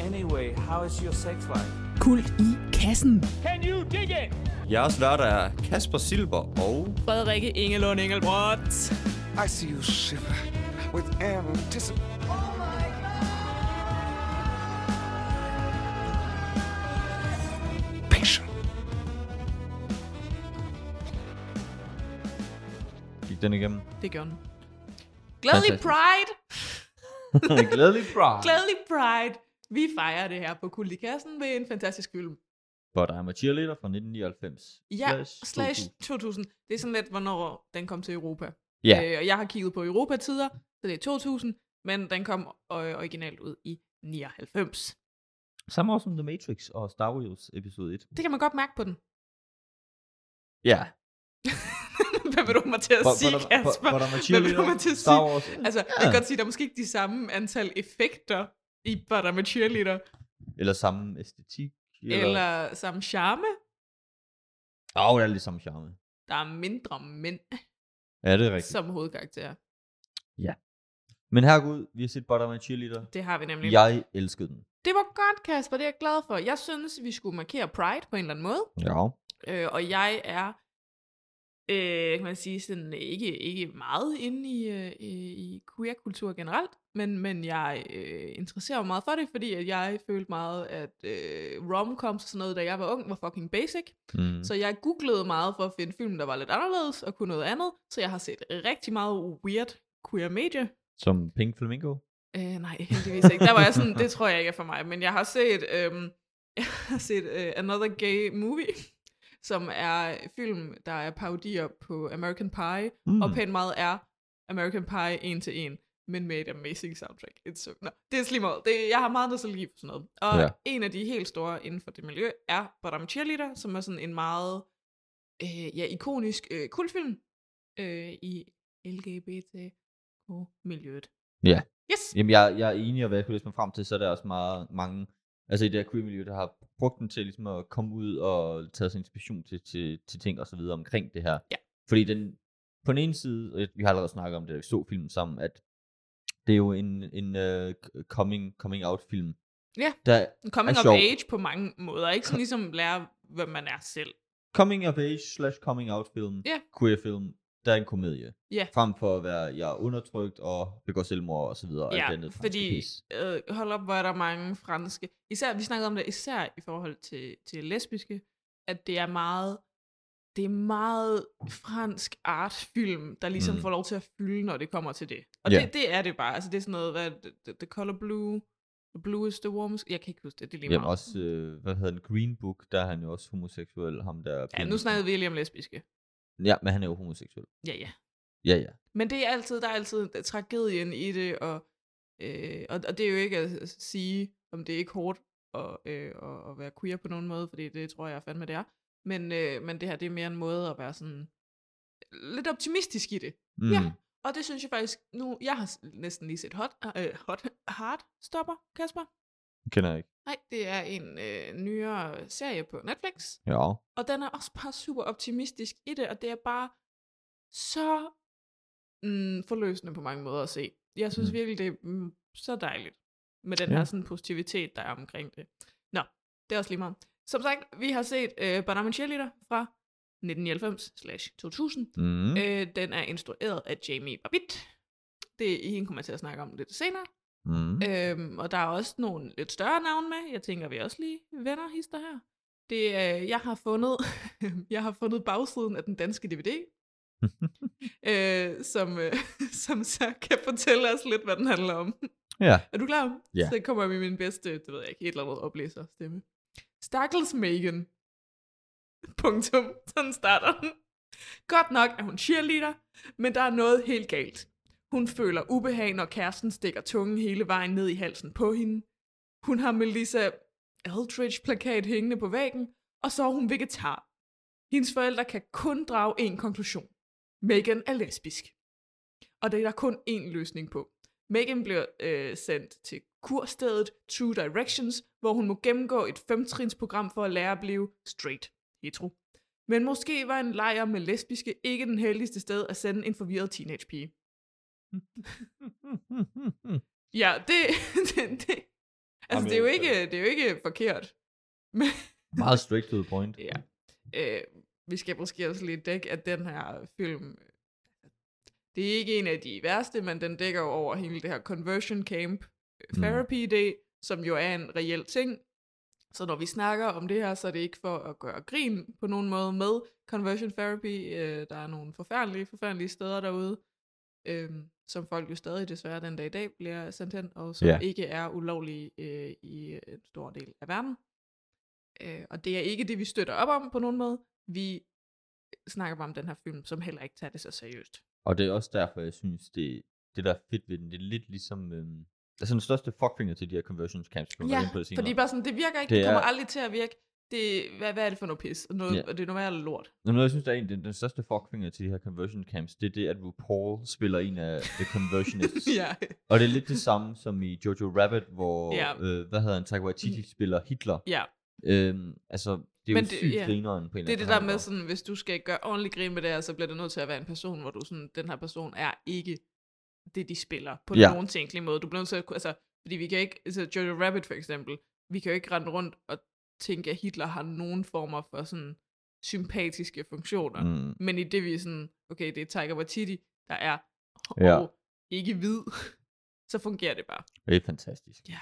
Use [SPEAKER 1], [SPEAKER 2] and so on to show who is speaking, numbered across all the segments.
[SPEAKER 1] Anyway, how is your sex life?
[SPEAKER 2] Kult i kassen.
[SPEAKER 3] Can you dig it?
[SPEAKER 4] Jeres værter er Kasper Silber og...
[SPEAKER 2] Frederikke Ingelund Engelbrecht.
[SPEAKER 5] I see you shiver with anticipation.
[SPEAKER 6] Gik den igennem?
[SPEAKER 2] Det gjorde den. Glædelig
[SPEAKER 6] Fantastisk.
[SPEAKER 2] Pride!
[SPEAKER 6] Glædelig bra.
[SPEAKER 2] Glædelig Pride! Vi fejrer det her på Kult i kassen ved en fantastisk film.
[SPEAKER 6] But I'm a cheerleader fra 1999.
[SPEAKER 2] Ja, slash
[SPEAKER 6] 2000.
[SPEAKER 2] 2000. Det er sådan lidt, hvornår den kom til Europa.
[SPEAKER 6] Ja.
[SPEAKER 2] Øh, og jeg har kigget på Europatider, så det er 2000, men den kom øh, originalt ud i 99.
[SPEAKER 6] Samme år som The Matrix og Star Wars episode 1.
[SPEAKER 2] Det kan man godt mærke på den.
[SPEAKER 6] Ja.
[SPEAKER 2] Hvad vil du have mig til at sige, Kasper?
[SPEAKER 6] But I'm a
[SPEAKER 2] Hvad vil du have mig til
[SPEAKER 6] cheerleader,
[SPEAKER 2] at
[SPEAKER 6] Star
[SPEAKER 2] sige?
[SPEAKER 6] Wars.
[SPEAKER 2] Altså, jeg kan godt sige, der er måske ikke de samme antal effekter i But I'm a Cheerleader,
[SPEAKER 6] Eller samme æstetik.
[SPEAKER 2] eller, eller samme charme.
[SPEAKER 6] Åh, oh, det er lidt samme charme.
[SPEAKER 2] Der er mindre mænd
[SPEAKER 6] Ja, det er rigtigt. Så...
[SPEAKER 2] som hovedkarakterer.
[SPEAKER 6] Men her ud, vi har set But I'm a cheerleader.
[SPEAKER 2] Det har vi nemlig.
[SPEAKER 6] Jeg elskede den.
[SPEAKER 2] Det var godt, Kasper. Det er jeg glad for. Jeg synes, vi skulle markere Pride på en eller anden måde.
[SPEAKER 6] Ja.
[SPEAKER 2] Øh, og jeg er, øh, kan man sige, sådan ikke, ikke meget inde i, øh, i i queer-kultur generelt, men, men jeg øh, interesserer mig meget for det, fordi at jeg følte meget, at øh, romcoms og sådan noget, da jeg var ung, var fucking basic. Mm.
[SPEAKER 6] Mm.
[SPEAKER 2] Så jeg googlede meget for at finde film, der var lidt anderledes og kunne noget andet, så jeg har set rigtig meget weird queer media.
[SPEAKER 6] Som Pink Flamingo.
[SPEAKER 2] Øh, nej, heldigvis ikke. Der var jeg sådan, det tror jeg ikke er for mig, men jeg har set, øhm, jeg har set øh, Another Gay Movie, som er film, der er parodier på American Pie, mm.
[SPEAKER 6] Hmm.
[SPEAKER 2] og pænt meget er American Pie en til en, men med et amazing soundtrack. It's so... no, det er slim meget. Det, jeg har meget nostalgi for sådan noget. Og
[SPEAKER 6] Ja.
[SPEAKER 2] ja. en af de helt store inden for det miljø er But I'm a Cheerleader, som er sådan en meget øh, ja, ikonisk øh, kultfilm øh, i LGBTQ-miljøet.
[SPEAKER 6] Ja.
[SPEAKER 2] Yes!
[SPEAKER 6] Jamen, jeg, jeg er enig, og hvad jeg kunne læse mig frem til, så er der også meget mange, altså i det her queer-miljø, der har brugt den til ligesom at komme ud og tage sig inspiration til, til, til ting og så videre omkring det her.
[SPEAKER 2] Ja.
[SPEAKER 6] Fordi den, på den ene side, og jeg- vi har allerede snakket om det, da vi så filmen sammen, at det er jo en, en uh, coming, coming out film.
[SPEAKER 2] Ja.
[SPEAKER 6] Der,
[SPEAKER 2] Coming
[SPEAKER 6] er
[SPEAKER 2] of
[SPEAKER 6] sjov.
[SPEAKER 2] age på mange måder. Ikke sådan ligesom lære, hvem man er selv.
[SPEAKER 6] coming of age slash coming out film,
[SPEAKER 2] Ja.
[SPEAKER 6] queer film, der er en komedie.
[SPEAKER 2] Ja.
[SPEAKER 6] Frem for at være, jeg er undertrykt og begår selvmord og så videre. og alt
[SPEAKER 2] Ja,
[SPEAKER 6] det andet franske
[SPEAKER 2] fordi
[SPEAKER 6] pis.
[SPEAKER 2] øh, hold op, hvor er der mange franske. Især, vi snakkede om det især i forhold til, til lesbiske, at det er meget det er meget fransk artfilm, der ligesom
[SPEAKER 6] Mm.
[SPEAKER 2] mm. får lov til at fylde, når det kommer til det. Og
[SPEAKER 6] Ja.
[SPEAKER 2] det, det er det bare. Altså det er sådan noget, hvad, er det? the, the color blue, the blue is the warmest. Jeg kan ikke huske det, det er lige
[SPEAKER 6] Jamen
[SPEAKER 2] meget.
[SPEAKER 6] også, øh, hvad hedder den, Green Book, der er han jo også homoseksuel, ham der...
[SPEAKER 2] ja, nu snakkede vi lige om lesbiske.
[SPEAKER 6] Ja, men han er jo homoseksuel.
[SPEAKER 2] Ja, ja.
[SPEAKER 6] Ja, ja.
[SPEAKER 2] Men det er altid, der er altid tragedien i det, og, øh, og, og det er jo ikke at sige, om det er ikke hårdt at, øh, at, at være queer på nogen måde, fordi det tror jeg fandme, det er. Men, øh, men det her, det er mere en måde at være sådan lidt optimistisk i det.
[SPEAKER 6] Mm.
[SPEAKER 2] Ja. Og det synes jeg faktisk, nu, jeg har s- næsten lige set hot, øh, hot Heartstopper, Kasper.
[SPEAKER 6] Kender jeg ikke.
[SPEAKER 2] Nej, det er en øh, nyere serie på Netflix.
[SPEAKER 6] Ja.
[SPEAKER 2] Og den er også bare super optimistisk i det, og det er bare så mm, forløsende på mange måder at se. Jeg synes
[SPEAKER 6] Mm.
[SPEAKER 2] mm. virkelig, det er mm, så dejligt med den
[SPEAKER 6] Ja.
[SPEAKER 2] ja. her sådan positivitet, der er omkring det. Nå, det er også lige meget. Som sagt, vi har set øh, Banana Cheerleader fra 1999-2000.
[SPEAKER 6] Mm.
[SPEAKER 2] Mm. Øh, den er instrueret af Jamie Babbitt. Det hende kommer jeg til at snakke om lidt senere.
[SPEAKER 6] Mm.
[SPEAKER 2] Øhm, og der er også nogle lidt større navne med. Jeg tænker, vi også lige venner hister her. Det, øh, jeg, har fundet, jeg har fundet bagsiden af den danske DVD, øh, som, øh, som så kan fortælle os lidt, hvad den handler om.
[SPEAKER 6] Ja.
[SPEAKER 2] Er du klar?
[SPEAKER 6] Ja.
[SPEAKER 2] Så kommer jeg med min bedste, det ved jeg ikke, et eller andet oplæser stemme. Stakkels Megan. Punktum. Sådan starter den. Godt nok er hun cheerleader, men der er noget helt galt. Hun føler ubehag, når kæresten stikker tungen hele vejen ned i halsen på hende. Hun har Melissa Eldridge-plakat hængende på væggen, og så er hun vegetar. Hendes forældre kan kun drage en konklusion. Megan er lesbisk. Og det er der kun én løsning på. Megan bliver øh, sendt til kurstedet True Directions, hvor hun må gennemgå et femtrinsprogram for at lære at blive straight hetero. Men måske var en lejr med lesbiske ikke den heldigste sted at sende en forvirret teenagepige. Ja, det, det, det. Altså, det er, jo ikke, det er jo ikke forkert. Men
[SPEAKER 6] Meget straight to the point.
[SPEAKER 2] ja. øh, vi skal måske også lige dække, at den her film, øh, det er ikke en af de værste, men den dækker jo over hele det her conversion camp øh,
[SPEAKER 6] Mm.
[SPEAKER 2] therapy day, som jo er en reel ting. Så når vi snakker om det her, så er det ikke for at gøre grin på nogen måde med conversion therapy. Øh, der er nogle forfærdelige, forfærdelige steder derude, øh, som folk jo stadig desværre den dag i dag bliver sendt hen, og som
[SPEAKER 6] Ja.
[SPEAKER 2] yeah. ikke er ulovlige øh, i en stor del af verden. Øh, og det er ikke det, vi støtter op om på nogen måde. Vi snakker bare om den her film, som heller ikke tager det så seriøst.
[SPEAKER 6] Og det er også derfor, jeg synes, det, det der er fedt ved den, det er lidt ligesom... Øhm, altså den største fuckfinger til de her conversion camps, som ja, på det senere.
[SPEAKER 2] fordi bare sådan, det virker ikke,
[SPEAKER 6] Det
[SPEAKER 2] det, kommer
[SPEAKER 6] er-
[SPEAKER 2] aldrig til at virke. Det, hvad, hvad er det for noget pis? Og Noget,
[SPEAKER 6] Ja.
[SPEAKER 2] yeah. Det er normalt lort.
[SPEAKER 6] Nå, men jeg synes, der er en, den, den største fuckfinger til de her conversion camps, det er det, at RuPaul spiller en af The Conversionists.
[SPEAKER 2] ja.
[SPEAKER 6] Og det er lidt det samme som i Jojo Rabbit, hvor,
[SPEAKER 2] Ja.
[SPEAKER 6] øh, hvad hedder han, Taika Waititi spiller Hitler.
[SPEAKER 2] ja.
[SPEAKER 6] Øhm, altså, det er
[SPEAKER 2] Men
[SPEAKER 6] jo
[SPEAKER 2] det-
[SPEAKER 6] sygt
[SPEAKER 2] ja.
[SPEAKER 6] grineren på en
[SPEAKER 2] Det er
[SPEAKER 6] eller anden
[SPEAKER 2] det der
[SPEAKER 6] måde.
[SPEAKER 2] med, sådan, hvis du skal gøre ordentlig grin med det her, så bliver det nødt til at være en person, hvor du sådan, den her person er ikke det, de spiller på
[SPEAKER 6] Ja.
[SPEAKER 2] ja. nogen tænkelig måde. Du bliver nødt til at, kunne- altså, fordi vi kan ikke, altså Jojo Rabbit for eksempel, vi kan jo ikke rende rundt og tænke, at Hitler har nogen former for sådan sympatiske funktioner. Mm.
[SPEAKER 6] Mm,
[SPEAKER 2] Men i det vi er sådan, okay, det er Tiger Waititi, der er
[SPEAKER 6] Ja.
[SPEAKER 2] ja. og ikke hvid, så fungerer det bare.
[SPEAKER 6] det er fantastisk.
[SPEAKER 2] Ja.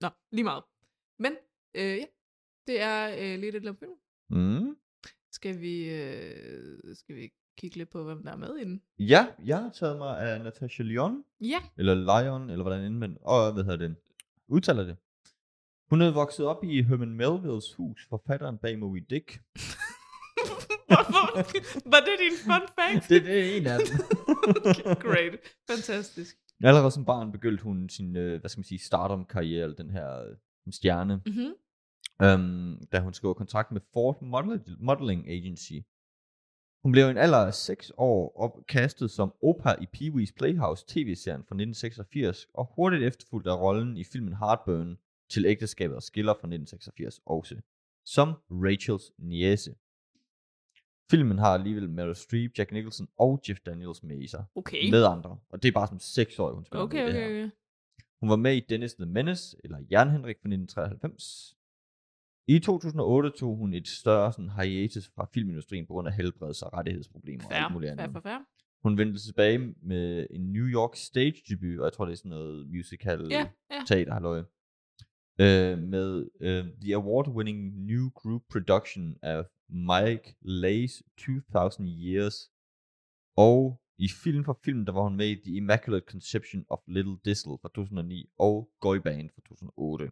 [SPEAKER 2] Nå, lige meget. Men, øh, ja, det er øh, lidt et film.
[SPEAKER 6] Mm.
[SPEAKER 2] Skal vi, øh, skal vi kigge lidt på, hvem der er med i den?
[SPEAKER 6] Ja, jeg har taget mig af Natasha Lyon,
[SPEAKER 2] Ja.
[SPEAKER 6] eller Lion, eller hvordan end man og hvad hedder det, udtaler det. Hun er vokset op i Herman Melvilles hus, forfatteren bag Moby Dick.
[SPEAKER 2] Hvorfor? Var det din fun fact?
[SPEAKER 6] Det, det er en af dem.
[SPEAKER 2] Great. Fantastisk.
[SPEAKER 6] Allerede som barn begyndte hun sin, øh, hvad skal man sige, stardom-karriere, eller den her øh, stjerne,
[SPEAKER 2] Mm-hmm.
[SPEAKER 6] øhm, da hun skrev kontrakt med Ford Model- Modeling Agency. Hun blev i en alder af 6 år opkastet som Opa i Pee-wee's Playhouse tv-serien fra 1986, og hurtigt efterfulgt af rollen i filmen Heartburn til ægteskabet og skiller fra 1986 også, som Rachels niece. Filmen har alligevel Meryl Streep, Jack Nicholson og Jeff Daniels med i sig,
[SPEAKER 2] Okay.
[SPEAKER 6] med andre, og det er bare som 6 år, hun spiller med
[SPEAKER 2] Okay,
[SPEAKER 6] i det
[SPEAKER 2] okay,
[SPEAKER 6] her.
[SPEAKER 2] okay.
[SPEAKER 6] Hun var med i Dennis the Menace, eller Jan Henrik fra 1993. I 2008 tog hun et større sådan, hiatus fra filmindustrien på grund af helbreds- og rettighedsproblemer og
[SPEAKER 2] Fair,
[SPEAKER 6] alt muligt
[SPEAKER 2] fair,
[SPEAKER 6] andet.
[SPEAKER 2] fair, fair.
[SPEAKER 6] Hun vendte tilbage med en New York stage debut, og jeg tror, det er sådan noget musical
[SPEAKER 2] Ja, ja.
[SPEAKER 6] teaterhalløj, øh, med øh, The Award-winning New Group Production af Mike Lay's 2000 Years, og i film for film, der var hun med i The Immaculate Conception of Little Dissel fra 2009, og Goy Band fra 2008.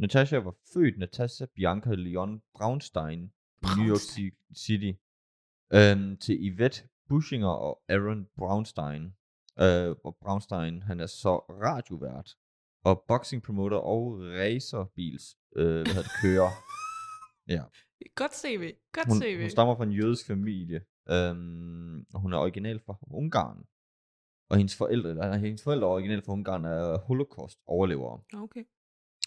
[SPEAKER 6] Natasha var født Natasha Bianca Leon Braunstein i New York Ci- City øhm, til Yvette Bushinger og Aaron Braunstein. Øh, og Braunstein, han er så radiovært og boxing promoter og racerbils, øh, hvad hedder det, kører.
[SPEAKER 2] Godt CV. Godt CV.
[SPEAKER 6] Hun, hun stammer fra en jødisk familie, øhm, og hun er original fra Ungarn. Og hendes forældre, eller, nej, hendes forældre er original fra Ungarn, er holocaust-overlevere,
[SPEAKER 2] Okay.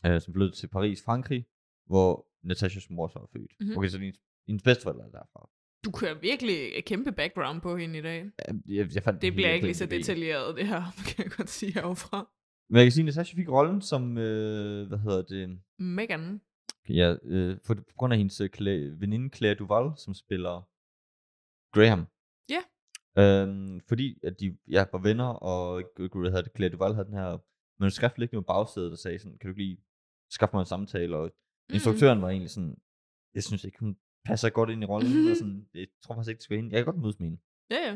[SPEAKER 6] øh, som flyttede til Paris, Frankrig, hvor Natashas mor så er født.
[SPEAKER 2] Mhm.
[SPEAKER 6] Mm-hmm. Okay, så hendes, hendes bedsteforældre er derfra.
[SPEAKER 2] Du kører virkelig et kæmpe background på hende i dag.
[SPEAKER 6] Jeg, Øhm, jeg, jeg fandt
[SPEAKER 2] Det
[SPEAKER 6] helt
[SPEAKER 2] bliver
[SPEAKER 6] på
[SPEAKER 2] ikke lige så
[SPEAKER 6] IMDb.
[SPEAKER 2] detaljeret, det her, kan jeg godt sige herovre.
[SPEAKER 6] Men jeg kan sige, at Natasha fik rollen som, øh, hvad hedder det,
[SPEAKER 2] Megan.
[SPEAKER 6] Ja, øh, for, på grund af hendes øh, Cla- veninde Claire Duval, som spiller Graham.
[SPEAKER 2] Ja.
[SPEAKER 6] Øhm, fordi at de ja, var venner, og gud, gud, hvad hedder det, Claire Duval havde den her manuskrift liggende på bagsædet, der sagde sådan, kan du ikke lige skaffe mig en samtale? Og mm. instruktøren var egentlig sådan, jeg synes ikke, hun passer godt ind i rollen,
[SPEAKER 2] Mhm.
[SPEAKER 6] og sådan, jeg tror faktisk ikke, det skal være hende. Jeg kan godt mødes med hende.
[SPEAKER 2] Mm. Ja, ja.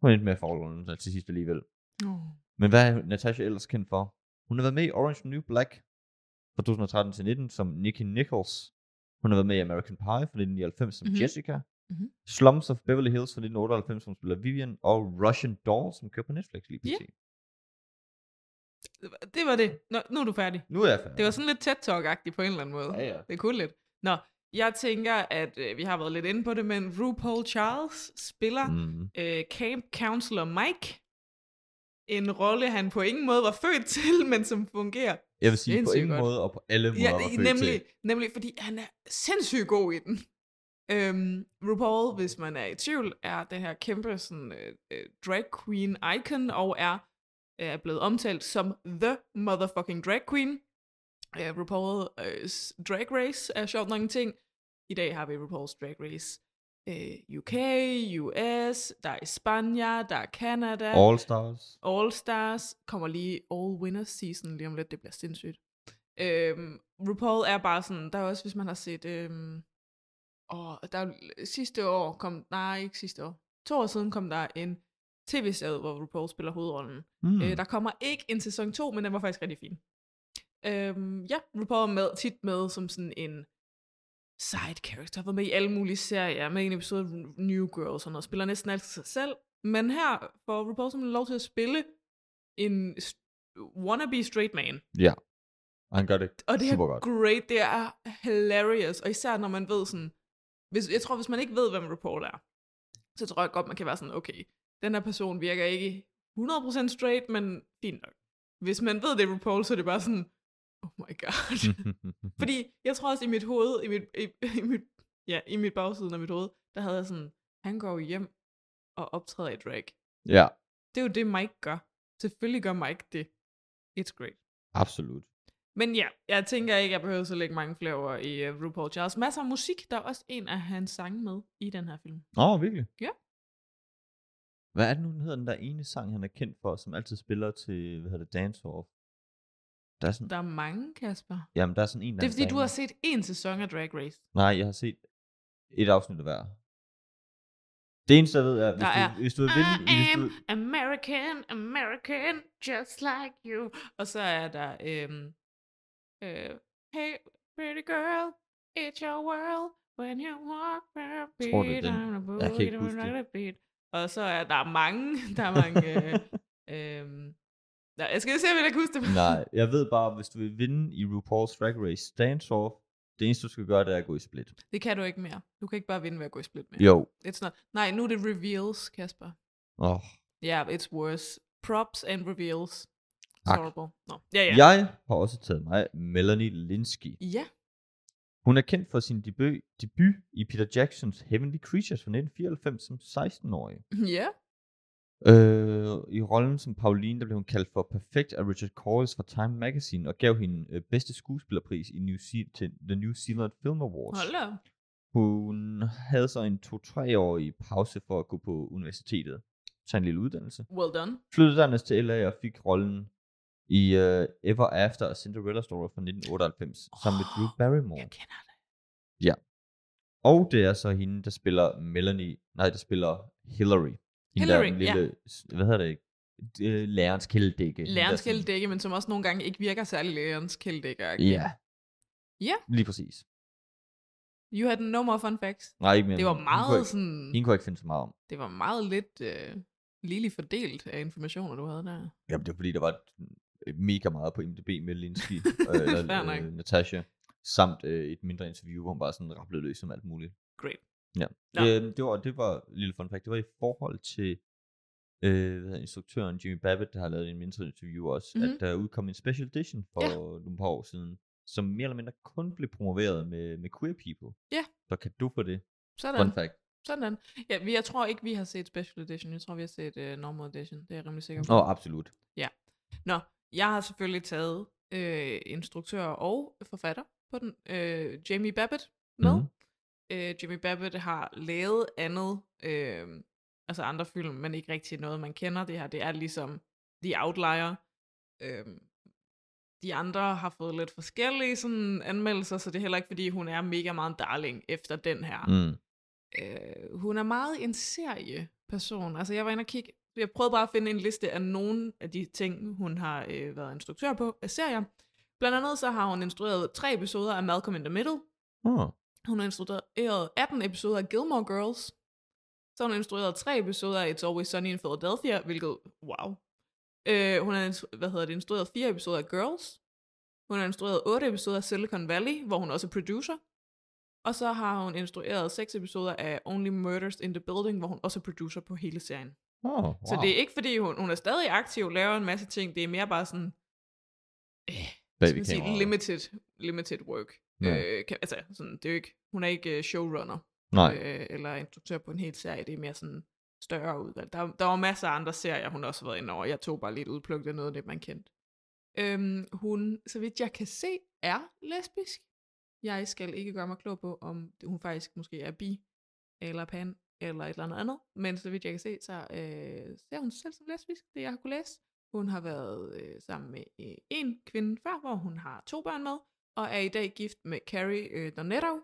[SPEAKER 6] Hun endte med at forholde sig til sidst alligevel.
[SPEAKER 2] Oh.
[SPEAKER 6] Men hvad er Natasha ellers kendt for? Hun har været med i Orange New Black fra 2013 til 19 som Nikki Nichols. Hun har været med i American Pie fra 1999 som
[SPEAKER 2] Mhm.
[SPEAKER 6] mm-hmm. Jessica.
[SPEAKER 2] Mhm.
[SPEAKER 6] Mm-hmm. Slums of Beverly Hills fra 1998, som spiller Vivian. Og Russian Doll, som kører på Netflix lige
[SPEAKER 2] Ja.
[SPEAKER 6] pludselig. Yeah.
[SPEAKER 2] Det var det. Nå, nu er du færdig.
[SPEAKER 6] Nu er jeg færdig.
[SPEAKER 2] Det var sådan lidt tæt talk på en eller anden måde.
[SPEAKER 6] Ja, ja.
[SPEAKER 2] Det kunne lidt. Nå, jeg tænker, at øh, vi har været lidt inde på det, men RuPaul Charles spiller mm.
[SPEAKER 6] Mm.
[SPEAKER 2] øh, Camp Counselor Mike. En rolle, han på ingen måde var født til, men som fungerer.
[SPEAKER 6] Jeg vil sige på
[SPEAKER 2] Sindssygt
[SPEAKER 6] ingen
[SPEAKER 2] godt.
[SPEAKER 6] måde og på alle måder
[SPEAKER 2] Ja,
[SPEAKER 6] var født
[SPEAKER 2] nemlig,
[SPEAKER 6] til.
[SPEAKER 2] nemlig, fordi han er sindssygt god i den. Øhm, RuPaul, hvis man er i tvivl, er den her kæmpe sådan, øh, øh, drag øh, queen icon, og er, er blevet omtalt som the motherfucking drag queen. Uh, RuPaul uh, Drag Race er sjovt nok en ting. I dag har vi RuPaul's Drag Race uh, UK, US, der er Spania, der er Canada.
[SPEAKER 6] All Stars.
[SPEAKER 2] All Stars kommer lige All Winners Season lige om lidt, det bliver sindssygt. Øhm, RuPaul er bare sådan, der er også, hvis man har set, øhm, åh, der er, jo- sidste år kom, nej ikke sidste år, to år siden kom der en tv-serie, hvor RuPaul spiller hovedrollen.
[SPEAKER 6] Mm.
[SPEAKER 2] Mm. Øh, der kommer ikke en sæson 2, men den var faktisk rigtig fin. Øhm, ja, RuPaul er med, tit med som sådan en side character, var med i alle mulige serier, med i en episode af New Girl og sådan noget, spiller næsten altid sig selv. Men her får RuPaul simpelthen lov til at spille en st- wannabe straight man.
[SPEAKER 6] Ja. Og han gør det,
[SPEAKER 2] Og det er
[SPEAKER 6] super godt.
[SPEAKER 2] great, det er hilarious, og især når man ved sådan, hvis, jeg tror, hvis man ikke ved, hvem RuPaul er, så tror jeg godt, man kan være sådan, okay, den her person virker ikke 100% straight, men fint nok. Hvis man ved, det er RuPaul, så er det bare sådan, oh my god.
[SPEAKER 6] Mm.
[SPEAKER 2] Fordi jeg tror også i mit hoved, i mit, i, i mit, ja, i mit bagsiden af mit hoved, der havde jeg sådan, han går jo hjem og optræder i drag.
[SPEAKER 6] ja,
[SPEAKER 2] Det er jo det, Mike gør. Selvfølgelig gør Mike det. It's great.
[SPEAKER 6] absolut.
[SPEAKER 2] Men ja, jeg tænker ikke, jeg behøver så lægge mange flere ord i uh, RuPaul Charles. Masser af musik, der er også en af hans sange med i den her film.
[SPEAKER 6] Åh, oh, virkelig?
[SPEAKER 2] Ja.
[SPEAKER 6] Hvad er det nu, den hedder den der ene sang, han er kendt for, som altid spiller til, hvad hedder det, Dance Off? Der er sådan,
[SPEAKER 2] Der er mange, Kasper.
[SPEAKER 6] jamen, der er sådan en, der
[SPEAKER 2] Det er fordi, du
[SPEAKER 6] damer.
[SPEAKER 2] har set en sæson af Drag Race.
[SPEAKER 6] Nej, jeg har set et afsnit af hver. Det eneste, jeg ved, er, hvis,
[SPEAKER 2] Der
[SPEAKER 6] du,
[SPEAKER 2] er,
[SPEAKER 6] hvis du er villig...
[SPEAKER 2] I
[SPEAKER 6] hvis du,
[SPEAKER 2] am American, American, just like you. Og så er der, øhm, øh, hey, pretty girl, it's your world, when you walk around, beat,
[SPEAKER 6] tror, det er den.
[SPEAKER 2] on a
[SPEAKER 6] Jeg kan ikke
[SPEAKER 2] boogie,
[SPEAKER 6] huske
[SPEAKER 2] on a beat. Og så er der mange, der er mange, øh, øhm, der, jeg skal se, om jeg kan huske det.
[SPEAKER 6] Nej, jeg ved bare, hvis du vil vinde i RuPaul's Drag Race Dance Off, det eneste, du skal gøre, det er at gå i split.
[SPEAKER 2] Det kan du ikke mere. Du kan ikke bare vinde ved at gå i split mere.
[SPEAKER 6] Jo.
[SPEAKER 2] It's not. Nej, nu er det reveals, Kasper.
[SPEAKER 6] Åh. Oh.
[SPEAKER 2] Ja, yeah, it's worse. Props and reveals. It's
[SPEAKER 6] Tak.
[SPEAKER 2] horrible. No. Ja, ja.
[SPEAKER 6] Yeah. Jeg har også taget mig Melanie Linsky.
[SPEAKER 2] Ja,
[SPEAKER 6] Hun er kendt for sin debut, debut i Peter Jacksons Heavenly Creatures fra 1994 som 16-årig.
[SPEAKER 2] ja.
[SPEAKER 6] Øh, I rollen som Pauline, der blev hun kaldt for perfekt af Richard Corliss fra Time Magazine og gav hende øh, bedste skuespillerpris i New Ze- til The New Zealand Film Awards.
[SPEAKER 2] Hold da. op.
[SPEAKER 6] Hun havde så en 2-3-årig pause for at gå på universitetet, tage en lille uddannelse.
[SPEAKER 2] Well done.
[SPEAKER 6] Flyttede dernæst til LA og fik rollen i øh, Ever After og Cinderella Story fra 1998 sammen med Drew Barrymore.
[SPEAKER 2] Jeg kender det.
[SPEAKER 6] Og det er så hende, der spiller Melanie, nej, der spiller Hillary. Hende der
[SPEAKER 2] Hillary,
[SPEAKER 6] er den lille, ja. hvad hedder det, øh, lærerens kældedække. Hende, der
[SPEAKER 2] Lærens
[SPEAKER 6] sådan-
[SPEAKER 2] kældedække, men som også nogle gange ikke virker særlig lærens kældedække.
[SPEAKER 6] Ja.
[SPEAKER 2] Ja.
[SPEAKER 6] Lige præcis.
[SPEAKER 2] You had no more fun facts.
[SPEAKER 6] Nej, ikke mere.
[SPEAKER 2] Det var
[SPEAKER 6] end-
[SPEAKER 2] meget
[SPEAKER 6] Hende kunne,
[SPEAKER 2] sådan,
[SPEAKER 6] jeg, hende kunne jeg ikke finde så meget om.
[SPEAKER 2] det var meget lidt øh, ligeligt fordelt af informationer, du havde der.
[SPEAKER 6] Jamen, det var fordi, der var et- øh, mega meget på IMDb med Linsky og
[SPEAKER 2] Fair
[SPEAKER 6] øh,
[SPEAKER 2] nok.
[SPEAKER 6] øh, Natasha, samt øh, et mindre interview, hvor hun bare sådan rapplede løs om alt muligt.
[SPEAKER 2] Great.
[SPEAKER 6] Ja.
[SPEAKER 2] Nå.
[SPEAKER 6] Øh, det var, det var lille fun fact, det var i forhold til øh, hvad hedder, instruktøren Jimmy Babbitt, der har lavet en mindre interview også, mm-hmm.
[SPEAKER 2] Mhm.
[SPEAKER 6] at der udkom en special edition for
[SPEAKER 2] Ja.
[SPEAKER 6] nogle par år siden, som mere eller mindre kun blev promoveret med, med queer people.
[SPEAKER 2] Ja.
[SPEAKER 6] Så kan du for det.
[SPEAKER 2] Sådan.
[SPEAKER 6] Fun fact.
[SPEAKER 2] Sådan. Ja, vi, jeg tror ikke, vi har set Special Edition. Jeg tror, vi har set uh, Normal Edition. Det er jeg rimelig sikker på.
[SPEAKER 6] Åh, oh, absolut.
[SPEAKER 2] Nå, jeg har selvfølgelig taget øh, instruktør og forfatter på den, øh, Jamie Babbitt, med.
[SPEAKER 6] Mhm.
[SPEAKER 2] Mm-hmm. Øh, Jamie Babbitt har lavet andet, øh, altså andre film, men ikke rigtig noget, man kender. Det her, det er ligesom The Outlier. Øh, de andre har fået lidt forskellige sådan, anmeldelser, så det er heller ikke, fordi hun er mega meget en darling efter den her.
[SPEAKER 6] Mm.
[SPEAKER 2] Øh, hun er meget en serieperson. Altså, jeg var inde og kigge. Jeg prøvede bare at finde en liste af nogle af de ting, hun har øh, været instruktør på af serier. Blandt andet så har hun instrueret tre episoder af Malcolm in the Middle.
[SPEAKER 6] Oh.
[SPEAKER 2] Hun har instrueret 18 episoder af Gilmore Girls. Så har hun instrueret tre episoder af It's Always Sunny in Philadelphia, hvilket, wow. Øh, hun har instru- hvad hedder det, instrueret fire episoder af Girls. Hun har instrueret otte episoder af Silicon Valley, hvor hun også er producer. Og så har hun instrueret seks episoder af Only Murders in the Building, hvor hun også er producer på hele serien. Wow.
[SPEAKER 6] Oh, wow.
[SPEAKER 2] Så det er ikke fordi, hun, hun er stadig aktiv, laver en masse ting. Det er mere bare sådan,
[SPEAKER 6] Bag
[SPEAKER 2] skal man sige,
[SPEAKER 6] kameraet.
[SPEAKER 2] limited, limited work.
[SPEAKER 6] Ja.
[SPEAKER 2] Øh, kan, altså, sådan, det er jo ikke, hun er ikke øh, showrunner
[SPEAKER 6] Nej.
[SPEAKER 2] øh, eller instruktør på en hel serie. Det er mere sådan større udvalg. Der, der var masser af andre serier, hun også har været inde over. Jeg tog bare lidt udplukket af noget af det, man kendte. Øhm, hun, så vidt jeg kan se, er lesbisk. Jeg skal ikke gøre mig klog på, om det- hun faktisk måske er bi, eller pan, eller et eller andet andet. Men så vidt jeg kan se, så øh, ser hun sig selv som lesbisk, det jeg har kunne læse. Hun har været øh, sammen med øh, en kvinde før, hvor hun har to børn med, og er i dag gift med Carrie øh, Donetto.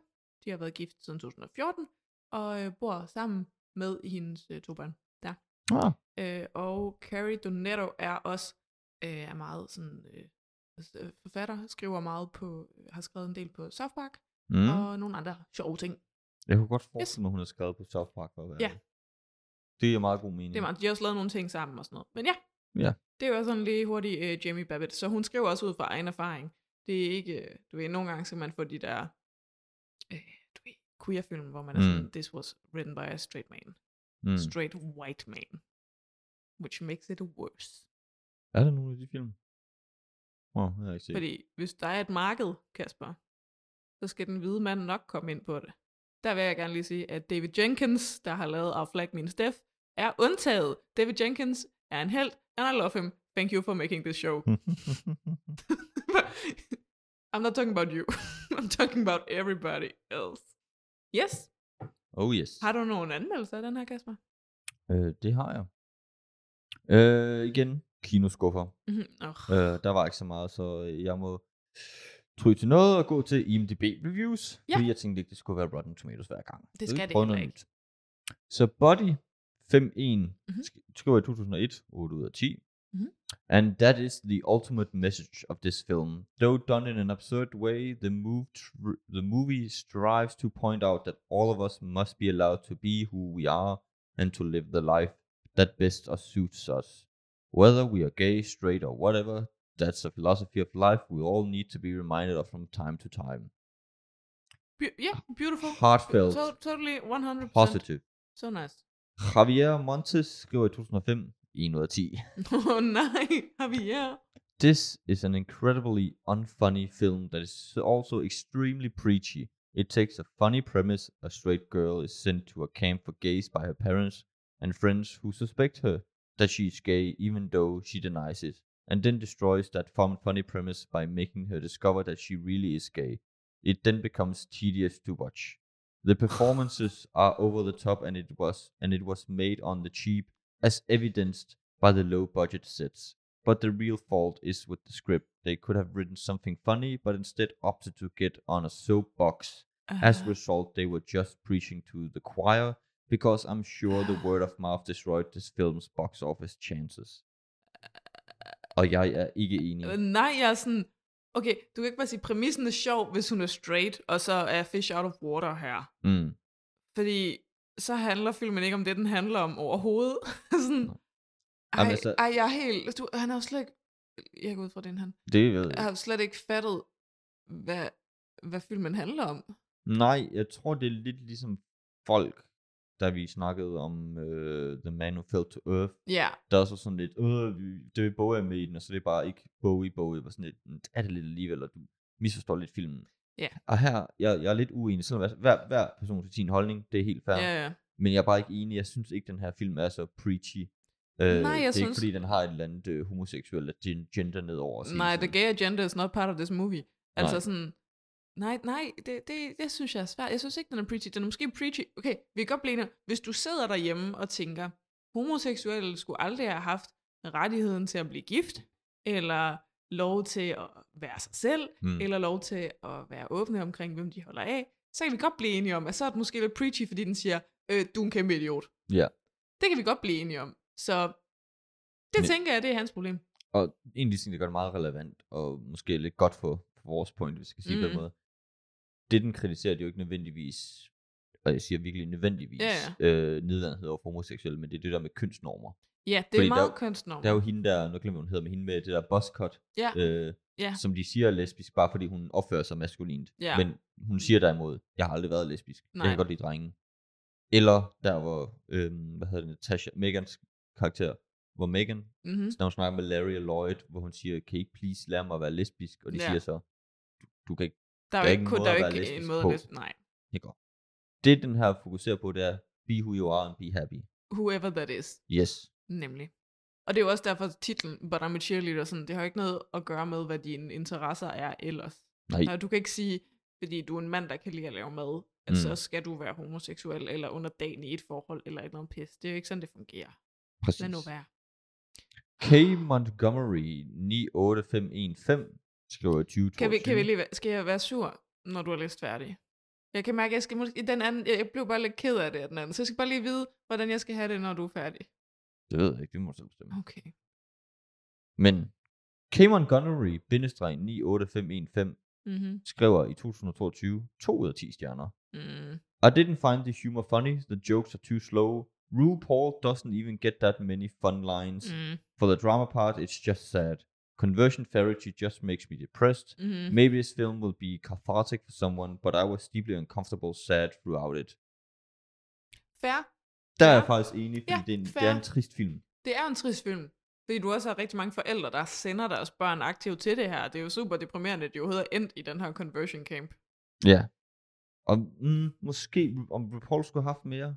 [SPEAKER 2] De har været gift siden 2014, og øh, bor sammen med hendes øh, to børn.
[SPEAKER 6] Ah.
[SPEAKER 2] Øh, og Carrie Donetto er også øh, er meget sådan, øh, altså, øh, forfatter, skriver meget på, øh, har skrevet en del på South Park, mm.
[SPEAKER 6] Mm.
[SPEAKER 2] og nogle andre sjove ting.
[SPEAKER 6] Jeg kunne godt forestille mig, hun har skrevet på South Park. For at være
[SPEAKER 2] Ja.
[SPEAKER 6] ærlig. Det er meget god mening.
[SPEAKER 2] Det er meget, de har også lavet nogle ting sammen og sådan noget. Men ja,
[SPEAKER 6] Mm. Ja.
[SPEAKER 2] det var sådan lige hurtigt øh, Jamie Babbitt. Så hun skriver også ud fra egen erfaring. Det er ikke, øh, du ved, nogle gange skal man få de der, øh, du ved, queer-film, hvor man er
[SPEAKER 6] Mm.
[SPEAKER 2] sådan, this was written by a straight man, mm.
[SPEAKER 6] Mm.
[SPEAKER 2] straight white man, which makes it worse.
[SPEAKER 6] Er der nogle af de film? Åh, oh, jeg har ikke set.
[SPEAKER 2] Fordi hvis der er et marked, Kasper, så skal den hvide mand nok komme ind på det. Der vil jeg gerne lige sige, at David Jenkins, der har lavet Our Flag Means Death, er undtaget. David Jenkins er en held, and I love him. Thank you for making this show. I'm not talking about you. I'm talking about everybody else. Yes.
[SPEAKER 6] oh yes.
[SPEAKER 2] Har du nogen anmeldelser af den her, Kasper?
[SPEAKER 6] Øh, det har jeg. Øh, igen, kinoskuffer.
[SPEAKER 2] Mhm. Åh,
[SPEAKER 6] Øh, der var ikke så meget, så øh, jeg må tryge til noget og gå til IMDb reviews,
[SPEAKER 2] Ja.
[SPEAKER 6] fordi jeg tænkte ikke, det skulle være Rotten Tomatoes hver gang.
[SPEAKER 2] Det
[SPEAKER 6] Så vi
[SPEAKER 2] skal det
[SPEAKER 6] prøver
[SPEAKER 2] heller
[SPEAKER 6] noget
[SPEAKER 2] ikke.
[SPEAKER 6] nyt. Så Body 51
[SPEAKER 2] Mhm.
[SPEAKER 6] sk- skriver i 2001, 8 ud af 10.
[SPEAKER 2] Mhm.
[SPEAKER 6] And that is the ultimate message of this film. Though done in an absurd way, the, move tr- the movie strives to point out that all of us must be allowed to be who we are and to live the life that best uh, suits us. Whether we are gay, straight, or whatever, that's a philosophy of life we all need to be reminded of from time to time.
[SPEAKER 2] be- yeah, beautiful.
[SPEAKER 6] Heartfelt.
[SPEAKER 2] To- totally 100%.
[SPEAKER 6] Positive.
[SPEAKER 2] So nice.
[SPEAKER 6] Javier Montes skriver i 2005, 1 ud af 10.
[SPEAKER 2] Åh oh, nej, Javier.
[SPEAKER 6] This is an incredibly unfunny film that is also extremely preachy. It takes a funny premise a straight girl is sent to a camp for gays by her parents and friends who suspect her that she is gay even though she denies it, and then destroys that fun- funny premise by making her discover that she really is gay. It then becomes tedious to watch. The performances are over the top and it was and it was made on the cheap as evidenced by the low budget sets. But the real fault is with the script. They could have written something funny, but instead opted to get on a soapbox. As a result, they were just preaching to the choir, because I'm sure the word of mouth destroyed this film's box office chances. Og jeg er ikke enig.
[SPEAKER 2] Øh, Nej, jeg er sådan, okay, du kan ikke bare sige, præmissen er sjov, hvis hun er straight, og så er fish out of water her.
[SPEAKER 6] Mm.
[SPEAKER 2] Fordi så handler filmen ikke om det, den handler om overhovedet. sådan, ej,
[SPEAKER 6] Jamen, altså-
[SPEAKER 2] ej, jeg er helt, du, han har jo slet ikke, jeg går ud fra den, han
[SPEAKER 6] Det ved
[SPEAKER 2] jeg
[SPEAKER 6] jeg.
[SPEAKER 2] har jo slet ikke fattet, hvad, hvad filmen handler om.
[SPEAKER 6] Nej, jeg tror, det er lidt ligesom folk, da vi snakkede om uh, The Man Who Fell to Earth.
[SPEAKER 2] Ja,
[SPEAKER 6] Der er så sådan lidt, øh, vi- det er Bowie med i den, og så det er bare ikke Bowie, Bowie, og sådan lidt, "Mm, det er det lidt alligevel, og du misforstår lidt filmen.
[SPEAKER 2] Ja.
[SPEAKER 6] Og her, jeg, jeg er lidt uenig, selvom jeg- hver, hver person til sin holdning, det er helt fair.
[SPEAKER 2] ja, ja.
[SPEAKER 6] Men jeg er bare ikke enig. Jeg synes ikke, den her film er så preachy. Øh, det er
[SPEAKER 2] jeg
[SPEAKER 6] ikke,
[SPEAKER 2] synes-
[SPEAKER 6] fordi den har et eller andet øh, homoseksuelt eller gen- gender nedover. os
[SPEAKER 2] Nej,
[SPEAKER 6] hele tiden.
[SPEAKER 2] the gay agenda is not part of this movie. Altså
[SPEAKER 6] Nej.
[SPEAKER 2] sådan, nej, nej, det, det, det synes jeg er svært. Jeg synes ikke, den er preachy. Den er måske preachy. Okay, vi kan godt blive enige om, Hvis du sidder derhjemme og tænker, homoseksuelle skulle aldrig have haft rettigheden til at blive gift, eller lov til at være sig selv,
[SPEAKER 6] Mm.
[SPEAKER 2] mm. eller lov til at være åbne omkring, hvem de holder af, så kan vi godt blive enige om, at så er det måske lidt preachy, fordi den siger, øh, du er en kæmpe idiot.
[SPEAKER 6] Ja.
[SPEAKER 2] Det kan vi godt blive enige om. Så det
[SPEAKER 6] Men-
[SPEAKER 2] tænker jeg, det er hans problem.
[SPEAKER 6] Og en af de ting, der gør det meget relevant, og måske lidt godt for, for vores point, hvis jeg skal sige mm. på den
[SPEAKER 2] Mm.
[SPEAKER 6] måde, det den kritiserer, det er jo ikke nødvendigvis, og jeg siger virkelig nødvendigvis,
[SPEAKER 2] Ja,
[SPEAKER 6] øh, nedladenhed over for homoseksuelle, men det er det der med kønsnormer.
[SPEAKER 2] Ja, det
[SPEAKER 6] Fordi
[SPEAKER 2] er
[SPEAKER 6] der-
[SPEAKER 2] meget kunstnorm.
[SPEAKER 6] Der er jo hende der, nu glemmer jeg, hvad hun hedder, men hende med det der buzzcut,
[SPEAKER 2] Ja.
[SPEAKER 6] øh,
[SPEAKER 2] Ja.
[SPEAKER 6] som de siger er lesbisk, bare fordi hun opfører sig maskulint.
[SPEAKER 2] Ja.
[SPEAKER 6] Men hun siger derimod, jeg har aldrig været lesbisk. Nej.
[SPEAKER 2] Nej.
[SPEAKER 6] Jeg kan godt lide drenge. Eller der hvor, øhm, hvad hedder det, Natasha, Megans karakter, hvor Megan,
[SPEAKER 2] Mm-hmm.
[SPEAKER 6] når hun snakker med Larry og Lloyd, hvor hun siger, kan I ikke please lære mig at være lesbisk? Og de ja.
[SPEAKER 2] Ja.
[SPEAKER 6] siger så, du, du kan ikke.
[SPEAKER 2] Der er,
[SPEAKER 6] Der er
[SPEAKER 2] jo
[SPEAKER 6] ikke
[SPEAKER 2] ikke,
[SPEAKER 6] en
[SPEAKER 2] kun,
[SPEAKER 6] måde
[SPEAKER 2] der
[SPEAKER 6] at
[SPEAKER 2] er jo
[SPEAKER 6] være
[SPEAKER 2] ikke en
[SPEAKER 6] lesbisk
[SPEAKER 2] måde
[SPEAKER 6] på.
[SPEAKER 2] at lesb- Nej.
[SPEAKER 6] Det den her fokuserer på, det er, be who you are and be happy.
[SPEAKER 2] Whoever that is,
[SPEAKER 6] Yes.
[SPEAKER 2] nemlig. Og det er jo også derfor titlen, But I'm a Cheerleader, sådan, det har jo ikke noget at gøre med, hvad dine interesser er ellers.
[SPEAKER 6] Nej.
[SPEAKER 2] Og du kan ikke sige, fordi du er en mand, der kan lide at lave mad, at
[SPEAKER 6] Mm.
[SPEAKER 2] mm. så skal du være homoseksuel eller underdanig i et forhold eller et eller andet pis. Det er jo ikke sådan, det fungerer.
[SPEAKER 6] Præcis.
[SPEAKER 2] Lad nu være.
[SPEAKER 6] K. Montgomery 98515 skriver i 2022.
[SPEAKER 2] Kan vi, kan vi lige, væ- skal jeg være sur, når du har læst færdig? Jeg kan mærke, at jeg skal måske, i den anden, jeg jeg blev bare lidt ked af det af den anden, så jeg skal bare lige vide, hvordan jeg skal have det, når du er færdig.
[SPEAKER 6] Det ved jeg ikke, det må du selv bestemme.
[SPEAKER 2] Okay.
[SPEAKER 6] Men K. Montgomery 98515
[SPEAKER 2] Mm-hmm.
[SPEAKER 6] skriver i 2022 2 ud af 10 stjerner.
[SPEAKER 2] Mm.
[SPEAKER 6] I didn't find the humor funny. The jokes are too slow. RuPaul doesn't even get that many fun lines.
[SPEAKER 2] Mm.
[SPEAKER 6] For the drama part, it's just sad. Conversion therapy just makes me depressed.
[SPEAKER 2] Mm.
[SPEAKER 6] Maybe this film will be cathartic for someone, but I was deeply uncomfortable, sad throughout it.
[SPEAKER 2] Fair.
[SPEAKER 6] Der er
[SPEAKER 2] Ja.
[SPEAKER 6] jeg faktisk enig, fordi
[SPEAKER 2] Ja,
[SPEAKER 6] det, er en, det
[SPEAKER 2] fair.
[SPEAKER 6] er en trist film.
[SPEAKER 2] Det er jo en trist film. Fordi du også har rigtig mange forældre, der sender deres børn aktivt til det her. Det er jo super deprimerende, at de overhovedet er endt i den her conversion camp.
[SPEAKER 6] Ja. Og mm, måske, om RuPaul skulle have haft mere.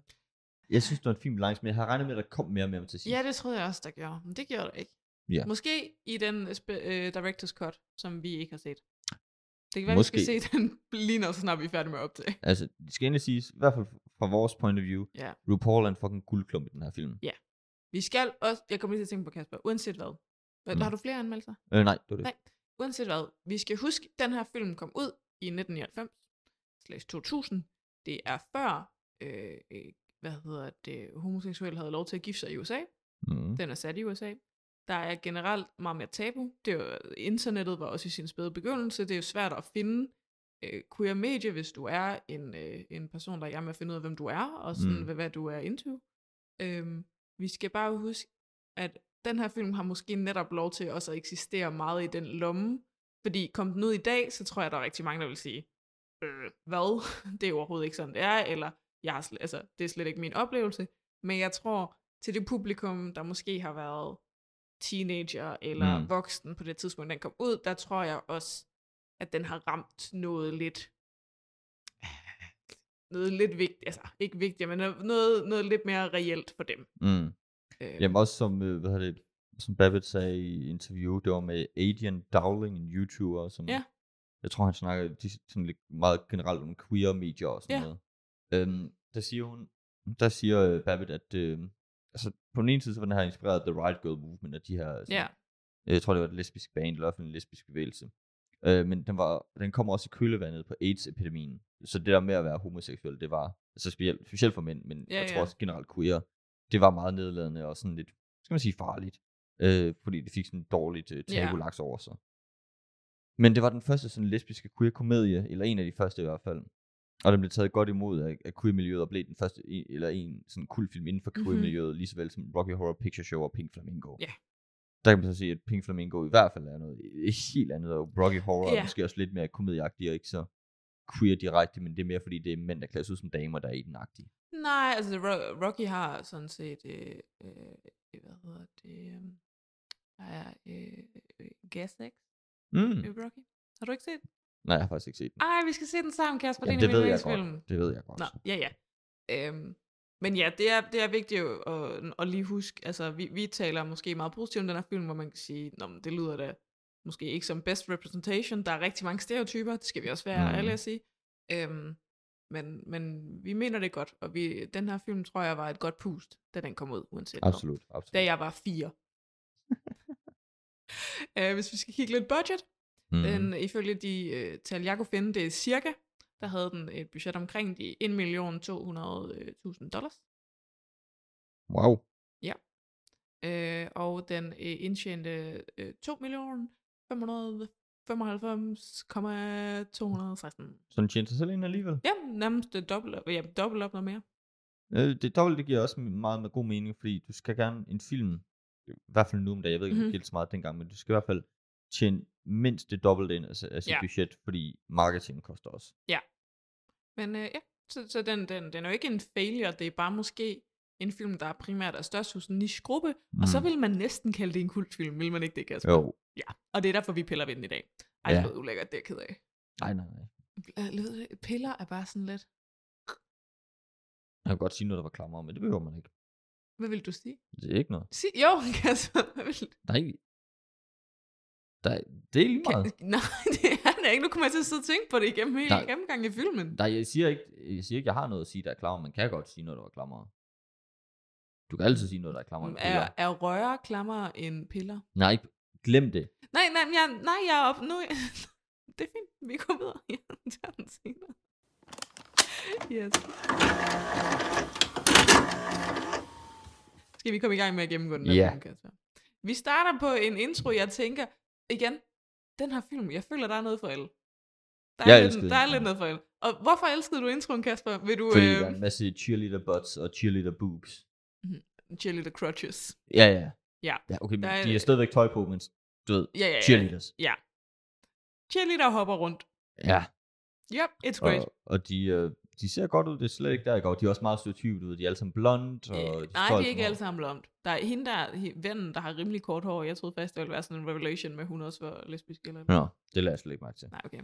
[SPEAKER 6] Jeg synes, det var en fin balance, men jeg havde regnet med, at der kom mere med ham til sidst.
[SPEAKER 2] Ja, det troede jeg også, der gjorde. Men det gjorde der ikke.
[SPEAKER 6] Ja.
[SPEAKER 2] Måske i den spe- øh, director's cut, som vi ikke har set. Det kan være, vi skal
[SPEAKER 6] Måske.
[SPEAKER 2] se den lige når så snart vi er færdige med at optage.
[SPEAKER 6] Altså, det skal endelig siges, i hvert fald fra vores point of view,
[SPEAKER 2] Ja.
[SPEAKER 6] RuPaul er en fucking guldklump i den her film.
[SPEAKER 2] Vi skal også... Jeg kommer lige til at tænke på Kasper. Uanset hvad. Mm.
[SPEAKER 6] Mm.
[SPEAKER 2] Har du flere anmeldelser?
[SPEAKER 6] Øh, nej, det var det.
[SPEAKER 2] Nej. Uanset hvad. Vi skal huske, at den her film kom ud i 1999-2000. Det er før... Øh, øh, hvad hedder det? Homoseksuelle havde lov til at gifte sig i USA.
[SPEAKER 6] Mm.
[SPEAKER 2] Den er sat i USA. Der er generelt meget mere tabu. Det er jo, internettet var også i sin spæde begyndelse. Det er jo svært at finde øh, queer medie, hvis du er en, øh, en person, der er i gang med at finde ud af, hvem du er, og sådan,
[SPEAKER 6] Mm.
[SPEAKER 2] mm. hvad, hvad du er into. Øhm, vi skal bare huske, at den her film har måske netop lov til også at eksistere meget i den lomme. Fordi kom den ud i dag, så tror jeg, der er rigtig mange, der vil sige, øh, hvad? Det er overhovedet ikke sådan, det er, eller jeg har sl- altså, det er slet ikke min oplevelse. Men jeg tror, til det publikum, der måske har været teenager eller
[SPEAKER 6] Mm.
[SPEAKER 2] mm. voksen på det tidspunkt, den kom ud, der tror jeg også, at den har ramt noget lidt noget lidt vigtigt, altså ikke vigtigt, men noget, noget lidt mere reelt for dem.
[SPEAKER 6] Mm.
[SPEAKER 2] Øh,
[SPEAKER 6] Jamen også som, øh, hvad hedder det, som Babbitt sagde i interview, det var med Adrian Dowling, en YouTuber, som
[SPEAKER 2] Ja.
[SPEAKER 6] jeg tror, han snakker de, sådan lidt meget generelt om queer medier og sådan
[SPEAKER 2] Ja.
[SPEAKER 6] noget. Øhm, der siger hun, der siger øh, Babbitt, at øh, altså, på den ene side, så var den her inspireret af The Right Girl Movement, og de her, sådan,
[SPEAKER 2] ja,
[SPEAKER 6] jeg tror, det var et lesbisk band, eller i hvert fald en lesbisk bevægelse. Øh, men den, var, den kom også i kølevandet på AIDS-epidemien. Så det der med at være homoseksuel, det var, altså specielt, specielt for mænd, men
[SPEAKER 2] Ja,
[SPEAKER 6] jeg tror
[SPEAKER 2] ja.
[SPEAKER 6] også generelt queer, det var meget nedladende og sådan lidt, skal man sige, farligt. Øh, fordi det fik sådan et dårligt øh,
[SPEAKER 2] Ja.
[SPEAKER 6] tabulaks over sig. Men det var den første sådan lesbiske queer-komedie, eller en af de første i hvert fald. Og den blev taget godt imod af, af queer-miljøet, og blev den første, en, eller en sådan kultfilm inden for
[SPEAKER 2] Mhm.
[SPEAKER 6] queer-miljøet, mm-hmm. lige såvel som Rocky Horror Picture Show og Pink Flamingo der kan man så sige, at Pink Flamingo i hvert fald er noget helt andet, og Rocky Horror yeah.
[SPEAKER 2] Ja.
[SPEAKER 6] er måske også lidt mere komedieagtig, og ikke så queer direkte, men det er mere fordi, det er mænd, der klæder sig ud som damer, der er i den agtige.
[SPEAKER 2] Nej, altså Ro- Rocky har sådan set, øh, øh, hvad hedder det, øh, der er øh, øh, gas, ikke?
[SPEAKER 6] Mm.
[SPEAKER 2] Mm. Rocky. Har du ikke set den?
[SPEAKER 6] Nej, jeg har faktisk ikke set den.
[SPEAKER 2] Ej, vi skal se den sammen, Kasper.
[SPEAKER 6] Jamen,
[SPEAKER 2] det er
[SPEAKER 6] det
[SPEAKER 2] en af
[SPEAKER 6] ved
[SPEAKER 2] mine
[SPEAKER 6] jeg
[SPEAKER 2] yndlingsfilm.
[SPEAKER 6] godt. Det ved jeg godt.
[SPEAKER 2] Nå, ja, ja. Øhm, men ja, det er, det er vigtigt jo at, at lige huske, altså vi, vi taler måske meget positivt om den her film, hvor man kan sige, Nå, men det lyder da måske ikke som best representation, der er rigtig mange stereotyper, det skal vi også være
[SPEAKER 6] Mhm.
[SPEAKER 2] ærlige at sige. Øhm, men, men vi mener det godt, og vi, den her film tror jeg var et godt pust, da den kom ud, uanset hvad.
[SPEAKER 6] Absolut, absolut.
[SPEAKER 2] Da jeg var fire. øh, hvis vi skal kigge lidt budget,
[SPEAKER 6] mm.
[SPEAKER 2] den, ifølge de øh, tal, jeg kunne finde, det er cirka, der havde den et budget omkring de 1.200.000 øh, dollars.
[SPEAKER 6] Wow.
[SPEAKER 2] Øh, og den øh, indtjente øh, 2.595.216.
[SPEAKER 6] Så den tjener sig selv ind alligevel.
[SPEAKER 2] Ja, nærmest det dobbelt, op- ja, dobbelt op noget mere.
[SPEAKER 6] Øh, Det dobbelt, det giver også meget med god mening, fordi du skal gerne en film, i hvert fald nu om dagen, jeg ved ikke, om det
[SPEAKER 2] Mhm.
[SPEAKER 6] gælder så meget dengang, men du skal i hvert fald tjene mindst det dobbelt ind af, af sit
[SPEAKER 2] Ja.
[SPEAKER 6] budget, fordi marketing koster også.
[SPEAKER 2] Men øh, ja, så, så den, den, den er jo ikke en failure, det er bare måske en film, der er primært er størst hos en niche-gruppe, mm. og så
[SPEAKER 6] Mm.
[SPEAKER 2] vil man næsten kalde det en kultfilm, vil man ikke det, Kasper?
[SPEAKER 6] Jo.
[SPEAKER 2] Ja, og det er derfor, vi piller ved den i dag. Ej, ja.
[SPEAKER 6] Ja.
[SPEAKER 2] det lyder ulækkert, det er jeg ked af.
[SPEAKER 6] Nej, nej, nej.
[SPEAKER 2] Øh, lyder det- Piller er bare sådan lidt...
[SPEAKER 6] Jeg kan godt sige noget, der var klammere, men det behøver man ikke.
[SPEAKER 2] Hvad vil du sige?
[SPEAKER 6] Det er ikke noget.
[SPEAKER 2] Sig, jo, Kasper, hvad vil du?
[SPEAKER 6] Der er ikke... Der er... Det er lige meget.
[SPEAKER 2] Ka- Nej, det er det ikke. Nu kommer jeg til at sidde og tænke på det igennem hele
[SPEAKER 6] Nej.
[SPEAKER 2] gennemgangen i filmen.
[SPEAKER 6] Nej, jeg siger ikke, jeg siger ikke, jeg har noget at sige, der er klammer. Man kan godt sige noget, der er klammer. Du kan altid sige noget, der er klammer.
[SPEAKER 2] Er, er røre klammere end piller?
[SPEAKER 6] Nej, ikke- glem det.
[SPEAKER 2] Nej, nej, men jeg, nej, jeg er op nu. det er fint. Vi går videre. Jeg tager den senere. Yes. Skal vi komme i gang med at gennemgå den her
[SPEAKER 6] Ja.
[SPEAKER 2] film, Kasper? Vi starter på en intro, jeg tænker, igen, den her film, jeg føler, der er noget for alle. Der er,
[SPEAKER 6] Jeg
[SPEAKER 2] lidt,
[SPEAKER 6] elskede
[SPEAKER 2] der er
[SPEAKER 6] den.
[SPEAKER 2] lidt noget for alle. Og hvorfor elskede du introen, Kasper? Vil du
[SPEAKER 6] Fordi
[SPEAKER 2] øh,
[SPEAKER 6] der er en masse cheerleader butts og cheerleader boobs.
[SPEAKER 2] cheerleader crutches?
[SPEAKER 6] Ja, ja.
[SPEAKER 2] Ja.
[SPEAKER 6] ja okay, men
[SPEAKER 2] Der er-
[SPEAKER 6] de har stadigvæk tøj på, men du ved,
[SPEAKER 2] Ja, ja, ja.
[SPEAKER 6] cheerleaders.
[SPEAKER 2] Cheerleader hopper rundt.
[SPEAKER 6] Ja,
[SPEAKER 2] Yep, it's
[SPEAKER 6] og,
[SPEAKER 2] great.
[SPEAKER 6] og de, øh, de ser godt ud, det er slet ikke der, jeg går. De er også meget stereotypet ud, de er alle sammen blonde, og
[SPEAKER 2] Øh,
[SPEAKER 6] de
[SPEAKER 2] nej,
[SPEAKER 6] står
[SPEAKER 2] de er ikke
[SPEAKER 6] for-
[SPEAKER 2] alle sammen blond. Der er hende, der er he- vennen, der har rimelig kort hår. Jeg troede faktisk, det ville være sådan en revelation med, at hun også var lesbisk eller noget.
[SPEAKER 6] Nå, det lader jeg slet ikke mærke til.
[SPEAKER 2] Nej, okay.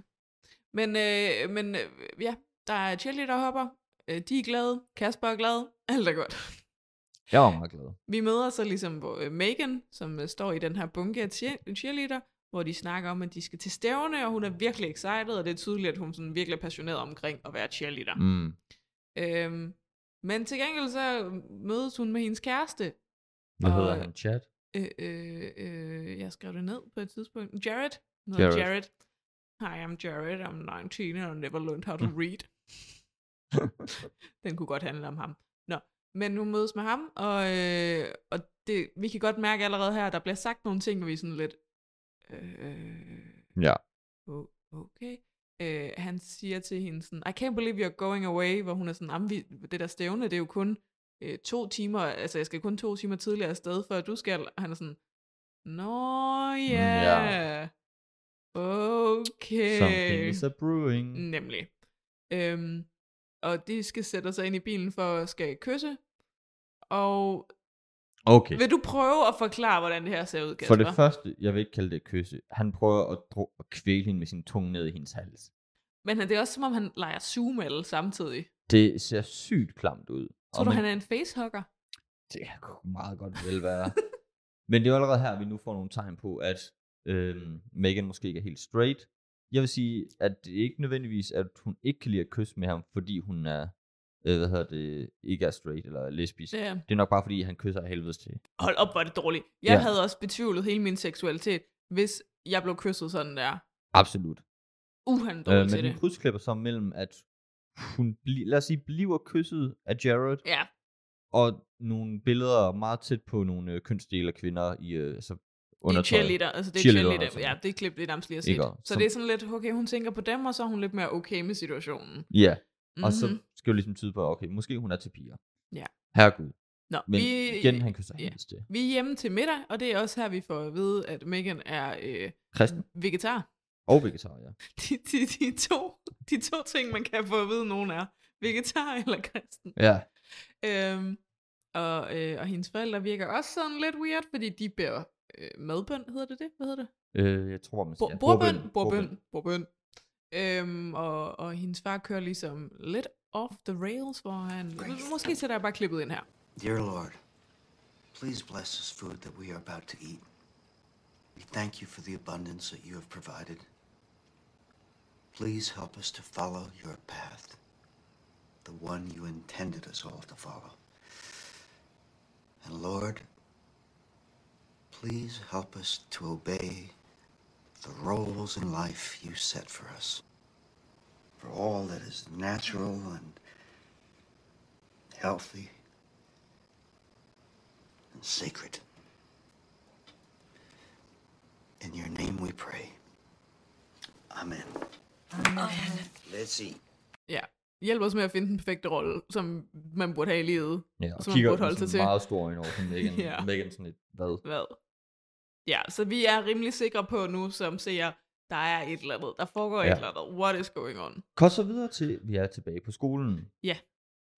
[SPEAKER 2] Men, øh, men øh, ja, der er cheerleader hopper. Øh, de er glade. Kasper er glad. Alt er godt.
[SPEAKER 6] Jeg var meget glad.
[SPEAKER 2] Vi møder så ligesom hvor, øh, Megan, som øh, står i den her bunke af cheer- cheerleader, hvor de snakker om, at de skal til stævne, og hun er virkelig excited, og det er tydeligt, at hun sådan virkelig er passioneret omkring at være cheerleader.
[SPEAKER 6] Mm.
[SPEAKER 2] Øhm, men til gengæld så mødes hun med hendes kæreste,
[SPEAKER 6] Hvad
[SPEAKER 2] Og-
[SPEAKER 6] hedder han? Chad?
[SPEAKER 2] øh, øh, øh, jeg skrev det ned på et tidspunkt. Jared? Nå,
[SPEAKER 6] Jared.
[SPEAKER 2] Jared. Jared. Hi, I'm Jared. I'm 19 and I never learned how to read. Den kunne godt handle om ham. Nå, men hun mødes med ham, og, øh, og det, vi kan godt mærke allerede her, at der bliver sagt nogle ting, hvor vi er sådan lidt... Øh,
[SPEAKER 6] Ja.
[SPEAKER 2] "O- okay. Øh, han siger til hende sådan, I can't believe you're going away, hvor hun er sådan, "Jamen, vi, det der stævne, det er jo kun øh, to timer, altså jeg skal kun to timer tidligere afsted, før du skal. Og han er sådan, nå ja,
[SPEAKER 6] Mm,
[SPEAKER 2] yeah. okay.
[SPEAKER 6] Something is a brewing.
[SPEAKER 2] Nemlig. Øhm, og de skal sætte sig ind i bilen for at skal kysse. Og
[SPEAKER 6] Okay.
[SPEAKER 2] vil du prøve at forklare, hvordan det her ser ud, Kasper?
[SPEAKER 6] For det første, jeg vil ikke kalde det et kysse. Han prøver at, dro- at kvæle hende med sin tunge ned i hendes hals.
[SPEAKER 2] Men det er også som om, han leger zoom samtidig.
[SPEAKER 6] Det ser sygt klamt ud.
[SPEAKER 2] Tror
[SPEAKER 6] Og
[SPEAKER 2] du,
[SPEAKER 6] man-
[SPEAKER 2] han er en facehugger?
[SPEAKER 6] Det kunne meget godt vel være. Men det er jo allerede her, vi nu får nogle tegn på, at øhm, Megan måske ikke er helt straight. Jeg vil sige, at det ikke nødvendigvis, at hun ikke kan lide at kysse med ham, fordi hun er, øh, hvad hedder det, ikke er straight eller lesbisk.
[SPEAKER 2] Ja.
[SPEAKER 6] Det er nok bare, fordi han kysser af helvedes til.
[SPEAKER 2] Hold op, hvor er det dårligt. Jeg
[SPEAKER 6] Ja.
[SPEAKER 2] ja. havde også betvivlet hele min seksualitet, hvis jeg blev kysset sådan der.
[SPEAKER 6] Absolut.
[SPEAKER 2] Uh, han er
[SPEAKER 6] Øh,
[SPEAKER 2] dårlig øh,
[SPEAKER 6] men
[SPEAKER 2] til
[SPEAKER 6] vi
[SPEAKER 2] det.
[SPEAKER 6] krydsklipper så mellem, at hun, bli- lad os sige, bliver kysset af Jared,
[SPEAKER 2] Ja,
[SPEAKER 6] og nogle billeder meget tæt på nogle øh, kønsdele af kvinder i øh, altså
[SPEAKER 2] i
[SPEAKER 6] undertøj.
[SPEAKER 2] cheerleader. Altså, det er
[SPEAKER 6] Cheerleader
[SPEAKER 2] cheerleader. cheerleader.
[SPEAKER 6] undertøj.
[SPEAKER 2] Ja, det er klip, det er nærmest lige at
[SPEAKER 6] Ikke
[SPEAKER 2] set.
[SPEAKER 6] også?
[SPEAKER 2] Så
[SPEAKER 6] Som-
[SPEAKER 2] det er sådan lidt, okay, hun tænker på dem, og så er hun lidt mere okay med situationen. Mm-hmm.
[SPEAKER 6] Ja, mm-hmm. og så skal du ligesom tyde på, okay, måske hun er til piger.
[SPEAKER 2] Ja.
[SPEAKER 6] Herregud.
[SPEAKER 2] Nå,
[SPEAKER 6] Men
[SPEAKER 2] vi,
[SPEAKER 6] igen, han kysser
[SPEAKER 2] ja.
[SPEAKER 6] yeah. hendes til.
[SPEAKER 2] vi er hjemme til middag, og det er også her, vi får at vide, at Megan er øh,
[SPEAKER 6] Kristen
[SPEAKER 2] vegetar. Mm.
[SPEAKER 6] og vegetar, ja.
[SPEAKER 2] De, de, de, to, de to ting, man kan få at vide, nogen er vegetar eller kristen.
[SPEAKER 6] Ja.
[SPEAKER 2] Øhm, og, øh, og hendes forældre virker også sådan lidt weird, fordi de bærer øh, madbønd, hedder det det? Hvad hedder det?
[SPEAKER 6] Øh, jeg tror, man
[SPEAKER 2] Bo- Bordbønd. Bordbønd. Bordbønd. Øhm, og, og hendes far kører ligesom lidt off the rails, hvor han... Måske sætter jeg bare klippet ind her.
[SPEAKER 3] Dear Lord, please bless this food that we are about to eat. We thank you for the abundance that you have provided. Please help us to follow your path, the one you intended us all to follow. And Lord, please help us to obey the roles in life you set for us. For all that is natural and healthy and sacred. In your name we pray. Amen. Let's eat.
[SPEAKER 2] Ja. Hjælp os med at finde den perfekte rolle, som man burde have i livet.
[SPEAKER 6] Ja, og
[SPEAKER 2] Som man
[SPEAKER 6] kigger
[SPEAKER 2] burde
[SPEAKER 6] med
[SPEAKER 2] holde sig
[SPEAKER 6] sådan
[SPEAKER 2] til.
[SPEAKER 6] meget stor øjne over på Megan.
[SPEAKER 2] Ja.
[SPEAKER 6] Megan sådan lidt, hvad?
[SPEAKER 2] Hvad? Ja, så vi er rimelig sikre på nu, som ser, der er et eller andet. Der foregår
[SPEAKER 6] Ja.
[SPEAKER 2] et eller andet. What is going on?
[SPEAKER 6] Kort så videre til, vi er tilbage på skolen.
[SPEAKER 2] Ja.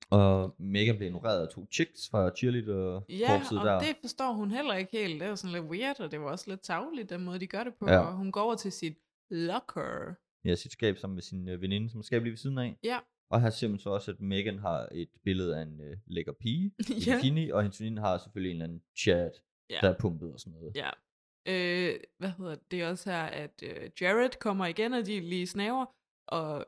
[SPEAKER 6] Og Megan bliver ignoreret af to chicks fra
[SPEAKER 2] Ja,
[SPEAKER 6] cheerleader-korpset
[SPEAKER 2] og
[SPEAKER 6] der.
[SPEAKER 2] det forstår hun heller ikke helt. Det er sådan lidt weird, og det var også lidt tavligt, den måde, de gør det på.
[SPEAKER 6] Ja.
[SPEAKER 2] Ja. Og hun går over til sit locker.
[SPEAKER 6] Ja, sit skab sammen med sin øh, veninde, som skab lige ved siden af.
[SPEAKER 2] Ja.
[SPEAKER 6] Og her ser man så også, at Megan har et billede af en øh, lækker pige i
[SPEAKER 2] Ja.
[SPEAKER 6] bikini, og hendes veninde har selvfølgelig en eller anden chat,
[SPEAKER 2] Ja.
[SPEAKER 6] der er pumpet og sådan noget.
[SPEAKER 2] Ja. Øh, hvad hedder det? det? er også her, at øh, Jared kommer igen, og de lige snaver, og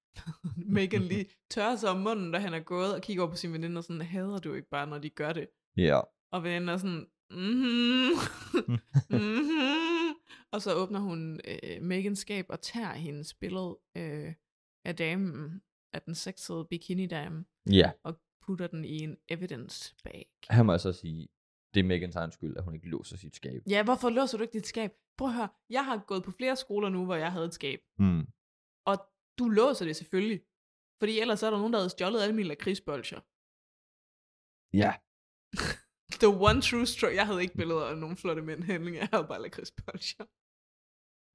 [SPEAKER 2] Megan lige tørrer sig om munden, da han er gået, og kigger over på sin veninde og sådan, hader du ikke bare, når de gør det?
[SPEAKER 6] Ja.
[SPEAKER 2] Og veninden er sådan, mhm, mhm. Og så åbner hun øh, Megans skab og tager hendes billede øh, af damen, af den sexede bikini-dame,
[SPEAKER 6] ja,
[SPEAKER 2] og putter den i en evidence bag.
[SPEAKER 6] her må jeg så sige, det er Megans egen skyld, at hun ikke låser sit skab.
[SPEAKER 2] Ja, hvorfor låser du ikke dit skab? Prøv at høre, jeg har gået på flere skoler nu, hvor jeg havde et skab.
[SPEAKER 6] Mm.
[SPEAKER 2] Og du låser det selvfølgelig. Fordi ellers er der nogen, der havde stjålet alle mine lakridsbolcher.
[SPEAKER 6] Ja.
[SPEAKER 2] The one true story. Jeg havde ikke billeder af nogen flotte mænd handlinger. Jeg havde bare lakridsbolcher.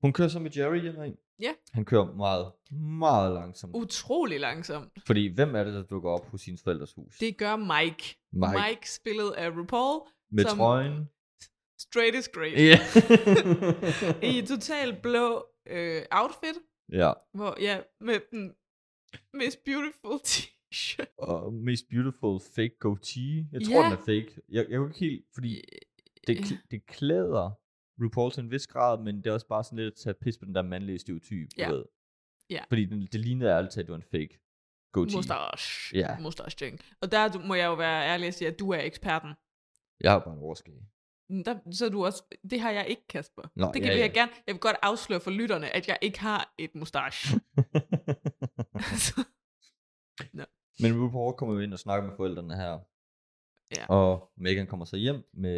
[SPEAKER 6] Hun kører så med Jerry hjem ind.
[SPEAKER 2] Ja.
[SPEAKER 6] Han kører meget, meget langsomt. Uh.
[SPEAKER 2] Utrolig langsomt.
[SPEAKER 6] Fordi hvem er det, der dukker op hos sine forældres hus?
[SPEAKER 2] Det gør Mike.
[SPEAKER 6] Mike.
[SPEAKER 2] Mike spillet af RuPaul.
[SPEAKER 6] med
[SPEAKER 2] som-
[SPEAKER 6] trøjen.
[SPEAKER 2] Straight is great.
[SPEAKER 6] Ja.
[SPEAKER 2] I totalt blå øh, outfit.
[SPEAKER 6] ja.
[SPEAKER 2] Hvor, ja, med den mest beautiful t-shirt.
[SPEAKER 6] Og mest beautiful fake goatee. Jeg tror,
[SPEAKER 2] Ja. Øh,
[SPEAKER 6] den er fake. Jeg, jeg kunne ikke helt, fordi det, kl- det klæder RuPaul til en vis grad, men det er også bare sådan lidt at tage pis på den der mandlige stereotyp,
[SPEAKER 2] Ja.
[SPEAKER 6] du ved.
[SPEAKER 2] Ja.
[SPEAKER 6] Fordi den, det lignede ærligt talt, at det var en fake goatee.
[SPEAKER 2] Mustache.
[SPEAKER 6] Ja.
[SPEAKER 2] Mustache ting. Og der du- må jeg jo være ærlig og sige, at du er eksperten.
[SPEAKER 6] Jeg har bare en overskæg.
[SPEAKER 2] Der, så er du også, det har jeg ikke, Kasper.
[SPEAKER 6] Nå,
[SPEAKER 2] det kan
[SPEAKER 6] ja,
[SPEAKER 2] vil
[SPEAKER 6] ja.
[SPEAKER 2] jeg gerne. Jeg vil godt afsløre for lytterne, at jeg ikke har et mustache. Så-
[SPEAKER 6] men RuPaul kommer jo ind og snakker med forældrene her.
[SPEAKER 2] Ja.
[SPEAKER 6] Og Megan kommer så hjem med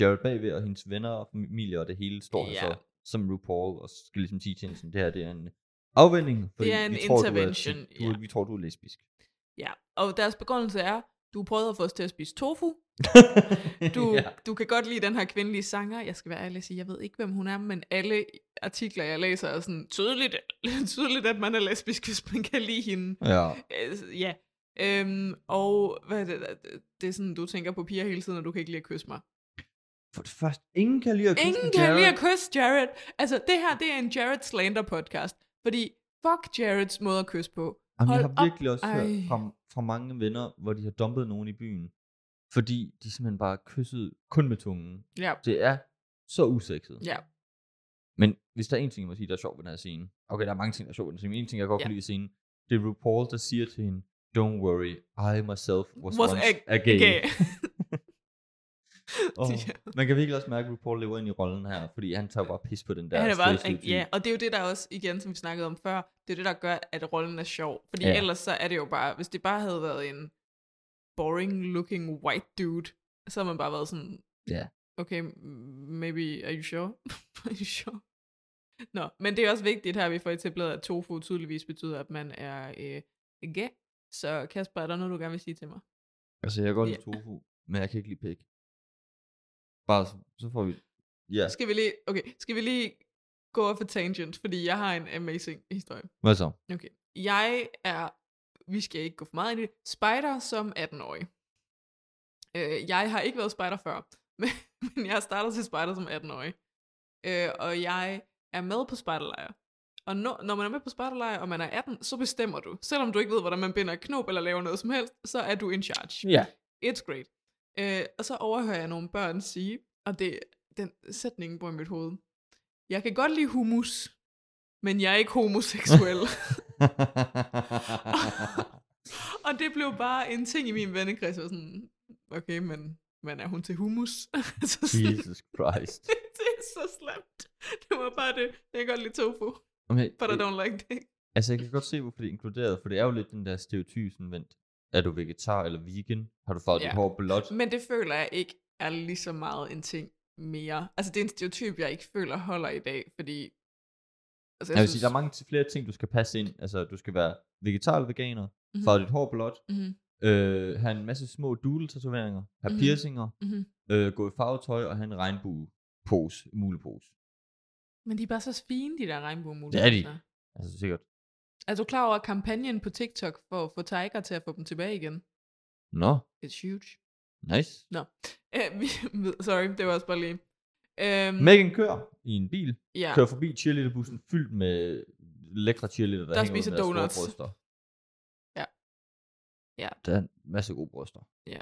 [SPEAKER 6] Jared bagved, og hendes venner og familie og det hele står her
[SPEAKER 2] Ja.
[SPEAKER 6] så som RuPaul, og skal ligesom sige til hende, sådan, det her det er en afvending, fordi
[SPEAKER 2] er en
[SPEAKER 6] vi, tror,
[SPEAKER 2] intervention,
[SPEAKER 6] Du er, du,
[SPEAKER 2] ja.
[SPEAKER 6] vi tror, du er lesbisk.
[SPEAKER 2] ja. Og deres begrundelse er, du prøvede at få os til at spise tofu. Du, ja. du kan godt lide den her kvindelige sanger. Jeg skal være ærlig og sige, jeg ved ikke, hvem hun er, men alle artikler, jeg læser, er sådan tydeligt, tydeligt at man er lesbisk, hvis man kan lide hende.
[SPEAKER 6] ja.
[SPEAKER 2] Øh, ja. Øhm, og hvad er det, det er sådan, du tænker på piger hele tiden, og du kan ikke lide at kysse mig.
[SPEAKER 6] For det første, ingen kan lide at kysse
[SPEAKER 2] Ingen
[SPEAKER 6] en
[SPEAKER 2] kan
[SPEAKER 6] Jared.
[SPEAKER 2] lide at kysse Jared. Altså, det her, det er en Jared Slander podcast. Fordi, fuck Jareds måde at kysse på.
[SPEAKER 6] Jamen, jeg
[SPEAKER 2] Hold
[SPEAKER 6] har virkelig også hørt
[SPEAKER 2] Ej.
[SPEAKER 6] fra, fra mange venner, hvor de har dumpet nogen i byen, fordi de simpelthen bare kysset kun med tungen.
[SPEAKER 2] Ja.
[SPEAKER 6] Det er så usekset.
[SPEAKER 2] Ja.
[SPEAKER 6] Men hvis der er en ting, jeg må sige, der er sjov ved den her scene. Okay, der er mange ting, der er sjov ved den her scene, men en ting, jeg godt
[SPEAKER 2] Ja.
[SPEAKER 6] kan lide i scenen, det er RuPaul, der siger til hende, Don't worry, I myself was,
[SPEAKER 2] Was
[SPEAKER 6] once
[SPEAKER 2] a-
[SPEAKER 6] a, gay.
[SPEAKER 2] Okay.
[SPEAKER 6] Og
[SPEAKER 2] Ja.
[SPEAKER 6] man kan virkelig også mærke, at RuPaul lever ind i rollen her, fordi han tager bare pis på den der
[SPEAKER 2] Han er bare,
[SPEAKER 6] stereotyp.
[SPEAKER 2] ja, og det er jo det, der også, igen, som vi snakkede om før, det er det, der gør, at rollen er sjov. Fordi
[SPEAKER 6] Ja.
[SPEAKER 2] ja. ellers så er det jo bare, hvis det bare havde været en boring looking white dude, så havde man bare været sådan,
[SPEAKER 6] Ja.
[SPEAKER 2] okay, m- maybe, are you sure? are you sure? Nå, men det er også vigtigt her, at vi får etableret, at tofu tydeligvis betyder, at man er øh, gay. Så Kasper, er der noget, du gerne vil sige til mig?
[SPEAKER 6] Altså, jeg kan godt
[SPEAKER 2] Ja.
[SPEAKER 6] lide tofu, men jeg kan ikke lide pæk. Bare så, så får vi... Ja,
[SPEAKER 2] Skal vi lige, okay, skal vi lige gå over for tangent, fordi jeg har en amazing historie.
[SPEAKER 6] hvad så?
[SPEAKER 2] Okay. Jeg er, vi skal ikke gå for meget ind i det, spider som 18-årig. Øh, jeg har ikke været spider før, men, men jeg startede til spider som 18-årig. Øh, og jeg er med på spejderlejr. Og når, når man er med på spejderlejr, og man er 18, så bestemmer du. Selvom du ikke ved, hvordan man binder et knop eller laver noget som helst, så er du in charge.
[SPEAKER 6] Ja.
[SPEAKER 2] It's great. Øh, og så overhører jeg nogle børn sige, og det den sætning bor i mit hoved. Jeg kan godt lide hummus, men jeg er ikke homoseksuel. og det blev bare en ting i min vennekreds, jeg var sådan, okay, men, men er hun til hummus? altså, sådan,
[SPEAKER 6] Jesus Christ.
[SPEAKER 2] det er så slemt. Det var bare det. Jeg kan godt lide tofu,
[SPEAKER 6] Okay,
[SPEAKER 2] but I
[SPEAKER 6] øh,
[SPEAKER 2] don't like det.
[SPEAKER 6] altså, jeg kan godt se, hvorfor det er inkluderet, for det er jo lidt den der stereotyp, sådan, vent, er du vegetar eller vegan? Har du farvet
[SPEAKER 2] Ja.
[SPEAKER 6] dit hår blåt?
[SPEAKER 2] Men det føler jeg ikke er lige så meget en ting mere. Altså, det er en stereotyp, jeg ikke føler holder i dag, fordi... Altså,
[SPEAKER 6] Jeg, vil sige, der er mange t- flere ting, du skal passe ind. Altså, du skal være vegetar eller veganer,
[SPEAKER 2] Mhm.
[SPEAKER 6] mm-hmm. farve dit hår blåt,
[SPEAKER 2] Mhm.
[SPEAKER 6] øh, have en masse små doodle-tatoveringer, have
[SPEAKER 2] Mhm.
[SPEAKER 6] mm-hmm. piercinger,
[SPEAKER 2] Mhm.
[SPEAKER 6] øh, gå i farvetøj og have en regnbue-pose, mulepose.
[SPEAKER 2] Men de er bare så fine, de der
[SPEAKER 6] Det er de.
[SPEAKER 2] regnbuemuligheder.
[SPEAKER 6] Altså, sikkert.
[SPEAKER 2] Er du klar over kampagnen på TikTok for at få Tiger til at få dem tilbage igen?
[SPEAKER 6] Nå,
[SPEAKER 2] It's huge.
[SPEAKER 6] nice.
[SPEAKER 2] Uh, vi- sorry, det var også bare lige. Um,
[SPEAKER 6] Megan kører i en bil,
[SPEAKER 2] ja,
[SPEAKER 6] kører forbi cheerleaderbussen fyldt med lækre cheerleader, der,
[SPEAKER 2] Der
[SPEAKER 6] hænger ud
[SPEAKER 2] spiser
[SPEAKER 6] med deres store
[SPEAKER 2] donuts.
[SPEAKER 6] bryster.
[SPEAKER 2] ja, Ja.
[SPEAKER 6] Der er en masse gode bryster.
[SPEAKER 2] Ja.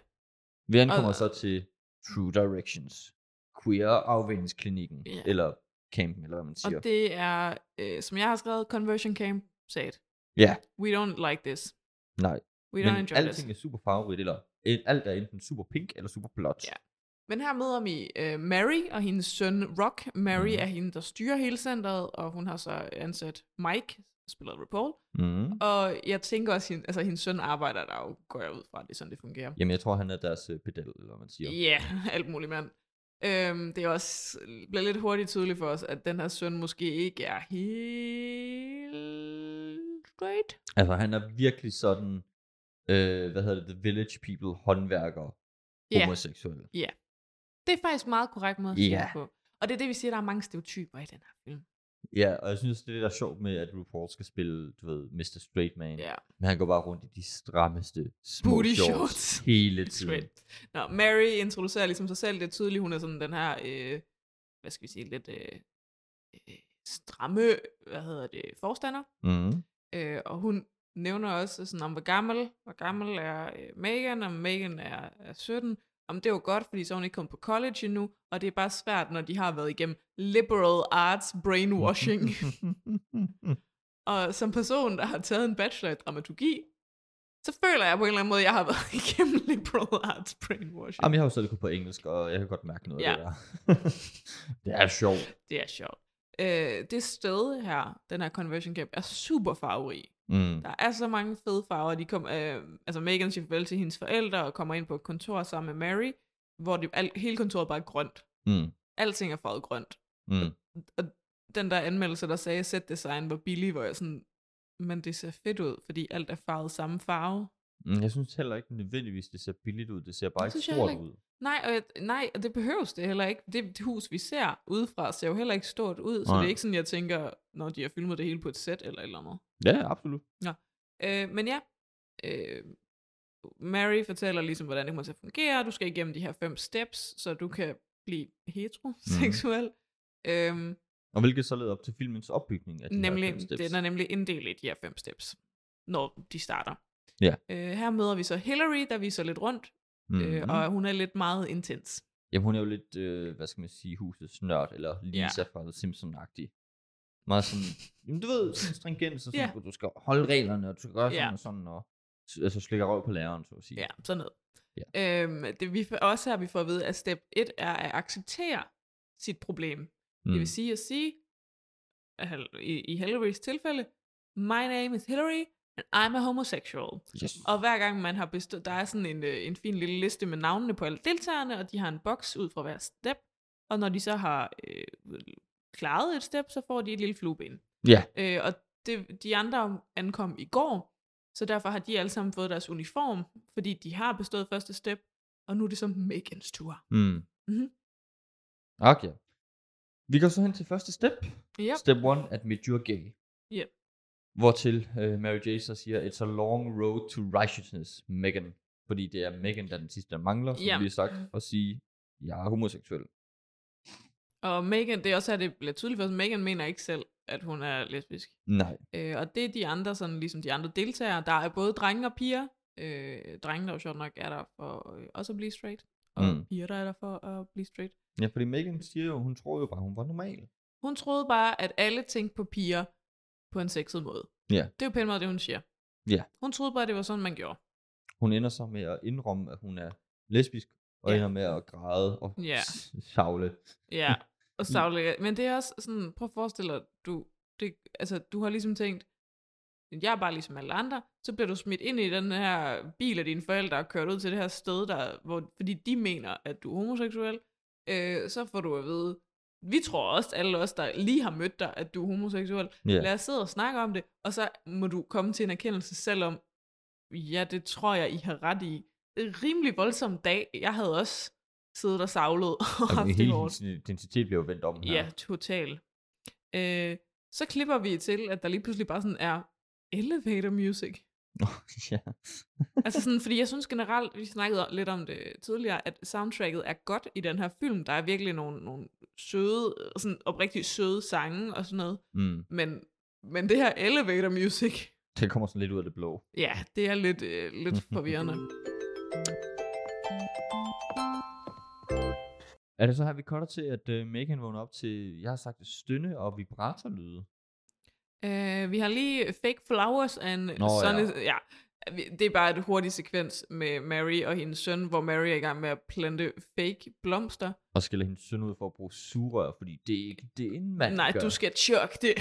[SPEAKER 6] Vi ankommer
[SPEAKER 2] Og-
[SPEAKER 6] så til True Directions, Queer Afvendingsklinikken,
[SPEAKER 2] Ja.
[SPEAKER 6] eller campen, eller hvad man
[SPEAKER 2] Og
[SPEAKER 6] siger. Det...
[SPEAKER 2] det er, øh, som jeg har skrevet, Conversion Camp sad.
[SPEAKER 6] Ja,
[SPEAKER 2] We don't like this.
[SPEAKER 6] nej.
[SPEAKER 2] We don't
[SPEAKER 6] Men
[SPEAKER 2] enjoy this.
[SPEAKER 6] alting er super farverigt, eller øh, alt er enten super pink eller super blåt.
[SPEAKER 2] Ja. Men her møder vi øh, Mary og hendes søn Rock. Mary
[SPEAKER 6] Mhm.
[SPEAKER 2] er hende, der styrer hele centret, og hun har så ansat Mike, spillet af RuPaul.
[SPEAKER 6] Mm.
[SPEAKER 2] Og jeg tænker også, hende, altså hendes søn arbejder der jo, går jeg ud fra, at det er sådan, det fungerer.
[SPEAKER 6] Jamen, jeg tror, han er deres øh, pedel, eller hvad man siger.
[SPEAKER 2] Ja, yeah, alt muligt mand. Øhm, det er også bliver lidt hurtigt tydeligt for os, at den her søn måske ikke er helt straight.
[SPEAKER 6] Altså, han er virkelig sådan, øh, hvad hedder det, the village people, håndværker,
[SPEAKER 2] Ja.
[SPEAKER 6] yeah. homoseksuel.
[SPEAKER 2] Det er faktisk meget korrekt måde at sige
[SPEAKER 6] Ja.
[SPEAKER 2] det på. Og det er det, vi siger, der er mange stereotyper i den her film.
[SPEAKER 6] Ja, og jeg synes, det er det, der er sjovt med, at RuPaul skal spille, du ved, Mr. Straight Man.
[SPEAKER 2] Ja.
[SPEAKER 6] Men han går bare rundt i de strammeste små
[SPEAKER 2] Booty
[SPEAKER 6] shorts,
[SPEAKER 2] shorts.
[SPEAKER 6] hele
[SPEAKER 2] It's
[SPEAKER 6] tiden.
[SPEAKER 2] great. Nå, Mary introducerer ligesom sig selv. Det er tydeligt, hun er sådan den her, øh, hvad skal vi sige, lidt øh, øh, stramme, hvad hedder det, forstander.
[SPEAKER 6] Mm.
[SPEAKER 2] Øh, og hun nævner også sådan om, hvor gammel, hvor gammel er øh, Megan, og Megan er, er 17. Om det er jo godt, fordi så er hun ikke kommet på college endnu, og det er bare svært, når de har været igennem liberal arts brainwashing. og som person, der har taget en bachelor i dramaturgi, så føler jeg på en eller anden måde, at jeg har været igennem liberal arts brainwashing.
[SPEAKER 6] Jamen, jeg har jo selv gået på engelsk, og jeg kan godt mærke noget
[SPEAKER 2] Ja.
[SPEAKER 6] af det der. det er sjovt.
[SPEAKER 2] Det er sjovt. Øh, det sted her, den her conversion camp, er super farverig.
[SPEAKER 6] Mm.
[SPEAKER 2] Der er så mange fede farver. De kom, øh, altså Megan siger farvel til hendes forældre og kommer ind på et kontor sammen med Mary, hvor det, al, hele kontoret bare er grønt.
[SPEAKER 6] Mm.
[SPEAKER 2] Alting er farvet grønt.
[SPEAKER 6] Mm.
[SPEAKER 2] Og den der anmeldelse, der sagde, at set design var billig, hvor jeg sådan, men det ser fedt ud, fordi alt er farvet samme farve.
[SPEAKER 6] Mm. Jeg synes heller ikke nødvendigvis, det ser billigt ud. Det ser bare
[SPEAKER 2] Det synes
[SPEAKER 6] ikke
[SPEAKER 2] jeg
[SPEAKER 6] stort
[SPEAKER 2] heller
[SPEAKER 6] ud.
[SPEAKER 2] Nej, og jeg, nej, og det behøves det heller ikke. Det, det hus, vi ser udefra, ser jo heller ikke stort ud, så
[SPEAKER 6] Nej.
[SPEAKER 2] det er ikke sådan, jeg tænker, når de har filmet det hele på et sæt eller et eller andet.
[SPEAKER 6] Ja, absolut.
[SPEAKER 2] Øh, men ja, øh, Mary fortæller ligesom, hvordan det kommer til at fungere. Du skal igennem de her fem steps, så du kan blive heteroseksuel. Mm. Øhm,
[SPEAKER 6] Og hvilket så leder op til filmens opbygning af de her fem
[SPEAKER 2] nemlig,
[SPEAKER 6] steps.
[SPEAKER 2] den er nemlig inddelt i de her fem steps, når de starter.
[SPEAKER 6] Ja.
[SPEAKER 2] Øh, her møder vi så Hillary, der viser lidt rundt, mm. øh,
[SPEAKER 6] Mm-hmm. Mhm.
[SPEAKER 2] og hun er lidt meget intens.
[SPEAKER 6] Jamen, hun er jo lidt, øh, hvad skal man sige, husets nørd, eller Lisa ja. fra The Simpsons-agtig. Meget sådan, jamen, du ved, sådan stringent, så sådan,
[SPEAKER 2] Ja.
[SPEAKER 6] yeah. du skal holde reglerne, og du skal gøre sådan
[SPEAKER 2] Ja.
[SPEAKER 6] yeah. og sådan, og s- altså slikker røv på læreren, så at sige.
[SPEAKER 2] Ja, sådan noget.
[SPEAKER 6] Ja.
[SPEAKER 2] Øhm, det vi får- også her, vi får at vide, at step 1 er at acceptere sit problem. Mm. Det vil sige at sige, at Hal- i, i Hillarys tilfælde, my name is Hillary, and I'm a homosexual.
[SPEAKER 6] yes.
[SPEAKER 2] Og hver gang man har bestået, der er sådan en, øh, en fin lille liste med navnene på alle deltagerne, og de har en boks ud fra hver step, og når de så har øh, klaret et step, så får de et lille flueben.
[SPEAKER 6] Ja.
[SPEAKER 2] Øh, og det, de andre ankom i går, så derfor har de alle sammen fået deres uniform, fordi de har bestået første step, og nu er det som Megans tur.
[SPEAKER 6] Mm.
[SPEAKER 2] Mhm.
[SPEAKER 6] Okay. Vi går så hen til første step.
[SPEAKER 2] Yep.
[SPEAKER 6] Step 1, admit you're gay.
[SPEAKER 2] Ja.
[SPEAKER 6] Hvortil øh, Mary J. så siger, it's a long road to righteousness, Megan. Fordi det er Megan, der er den sidste, der mangler, som
[SPEAKER 2] Ja. Mm-hmm.
[SPEAKER 6] vi har sagt, at sige, jeg er homoseksuel.
[SPEAKER 2] Og Megan, det er også her, det bliver tydeligt for os, Megan mener ikke selv, at hun er lesbisk.
[SPEAKER 6] Nej.
[SPEAKER 2] Øh, og det er de andre, sådan ligesom de andre deltagere, der er både drenge og piger. Øh, drenge, der jo sjovt nok er der for øh, også at blive straight, og
[SPEAKER 6] Mm.
[SPEAKER 2] mm. piger, der er der for at blive straight.
[SPEAKER 6] Ja, fordi Megan siger jo, hun tror jo bare, hun var normal.
[SPEAKER 2] Hun troede bare, at alle tænkte på piger på en sexet måde.
[SPEAKER 6] Ja.
[SPEAKER 2] Det er jo pænt meget det, hun siger.
[SPEAKER 6] Ja.
[SPEAKER 2] Hun troede bare, det var sådan, man gjorde.
[SPEAKER 6] Hun ender så med at indrømme, at hun er lesbisk, og ja.
[SPEAKER 2] Ja.
[SPEAKER 6] ender med at græde og
[SPEAKER 2] Ja.
[SPEAKER 6] s- savle.
[SPEAKER 2] Ja, og savle. Men det er også sådan, prøv at forestille dig, du, det, altså, du har ligesom tænkt, jeg er bare ligesom alle andre, så bliver du smidt ind i den her bil af dine forældre og kørt ud til det her sted, der, hvor, fordi de mener, at du er homoseksuel. Øh, så får du at vide, vi tror også, alle os, der lige har mødt dig, at du er homoseksuel.
[SPEAKER 6] Ja. altså,
[SPEAKER 2] Lad os sidde og snakke om det, og så må du komme til en erkendelse selvom, ja, det tror jeg, I har ret i. Det er en rimelig voldsom dag. Jeg havde også siddet og savlet og
[SPEAKER 6] Jamen,
[SPEAKER 2] haft det
[SPEAKER 6] hele
[SPEAKER 2] hårdt.
[SPEAKER 6] hendes identitet bliver jo vendt om her.
[SPEAKER 2] Ja, totalt. Øh, så klipper vi til, at der lige pludselig bare sådan er elevator music.
[SPEAKER 6] ja.
[SPEAKER 2] Altså sådan, fordi jeg synes generelt, vi snakkede lidt om det tidligere, at soundtracket er godt i den her film. Der er virkelig nogle, nogle søde, sådan oprigtigt søde sange og sådan noget.
[SPEAKER 6] Mm.
[SPEAKER 2] Men, men det her elevator music,
[SPEAKER 6] Det kommer sådan lidt ud af det blå.
[SPEAKER 2] Ja, det er lidt, øh, lidt forvirrende.
[SPEAKER 6] Er det så her, vi cutter til, at øh, Megan vågner op til, jeg har sagt, stønne og vibratorlyde?
[SPEAKER 2] Uh, vi har lige Fake Flowers and
[SPEAKER 6] Nå,
[SPEAKER 2] Sun
[SPEAKER 6] ja.
[SPEAKER 2] is, ja. Vi- Det er bare et hurtigt sekvens med Mary og hendes søn, hvor Mary er i gang med at plante fake blomster.
[SPEAKER 6] Og skiller hendes søn ud for at bruge sugerør, fordi det er ikke det, en mand
[SPEAKER 2] Nej,
[SPEAKER 6] gør.
[SPEAKER 2] du skal tjok det.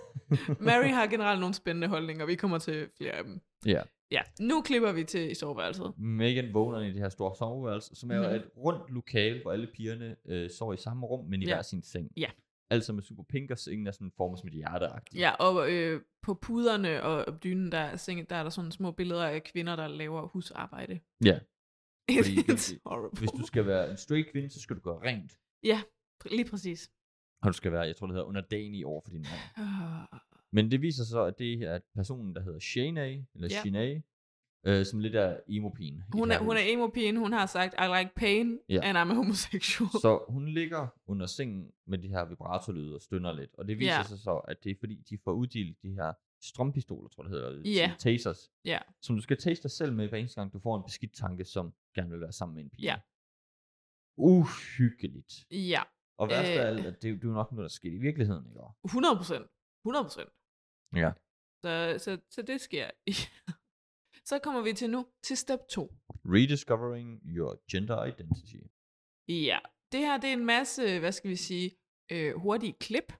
[SPEAKER 2] Mary har generelt nogle spændende holdninger, vi kommer til flere af dem.
[SPEAKER 6] ja.
[SPEAKER 2] Ja, nu klipper vi til i soveværelset.
[SPEAKER 6] Megan vågner i det her store soveværelse, som er jo
[SPEAKER 2] Mhm.
[SPEAKER 6] et rundt lokale, hvor alle pigerne øh, sover i samme rum, men i
[SPEAKER 2] Ja.
[SPEAKER 6] hver sin seng.
[SPEAKER 2] Ja.
[SPEAKER 6] Altså med super pink, og sengen er sådan formet som et hjerte
[SPEAKER 2] Ja, og øh, på puderne og dynen, der, er seng- der er der sådan små billeder af kvinder, der laver husarbejde.
[SPEAKER 6] Ja. Fordi
[SPEAKER 2] It's
[SPEAKER 6] hvis-
[SPEAKER 2] horrible.
[SPEAKER 6] Hvis du skal være en straight kvinde, så skal du gøre rent.
[SPEAKER 2] Lige præcis.
[SPEAKER 6] Og du skal være, jeg tror det hedder, underdanig over for din mand.
[SPEAKER 2] Ah,
[SPEAKER 6] Men det viser sig så, at det er personen, der hedder Shanae, eller
[SPEAKER 2] Ja.
[SPEAKER 6] ja. Shanae, øh, som lidt er emo
[SPEAKER 2] Hun er, hun er emo-pigen, hun har sagt, I like pain,
[SPEAKER 6] Ja.
[SPEAKER 2] and I'm a homosexual.
[SPEAKER 6] Så hun ligger under sengen med de her vibratorlyde og stønner lidt. Og det viser
[SPEAKER 2] Ja.
[SPEAKER 6] sig så, at det er fordi, de får uddelt de her strømpistoler, tror jeg det hedder,
[SPEAKER 2] Ja.
[SPEAKER 6] yeah. tasers,
[SPEAKER 2] Ja.
[SPEAKER 6] som du skal taste dig selv med, hver eneste gang du får en beskidt tanke, som gerne vil være sammen med en pige.
[SPEAKER 2] Ja.
[SPEAKER 6] Uhyggeligt.
[SPEAKER 2] Ja,
[SPEAKER 6] Og værst af
[SPEAKER 2] Øh.
[SPEAKER 6] alt, at det, det er jo nok noget, der sker i virkeligheden, ikke?
[SPEAKER 2] 100 procent. 100 procent.
[SPEAKER 6] Ja.
[SPEAKER 2] Så, så, så det sker. så kommer vi til nu, til step 2.
[SPEAKER 6] Rediscovering your gender identity.
[SPEAKER 2] Ja, det her det er en masse, hvad skal vi sige, øh, hurtige klip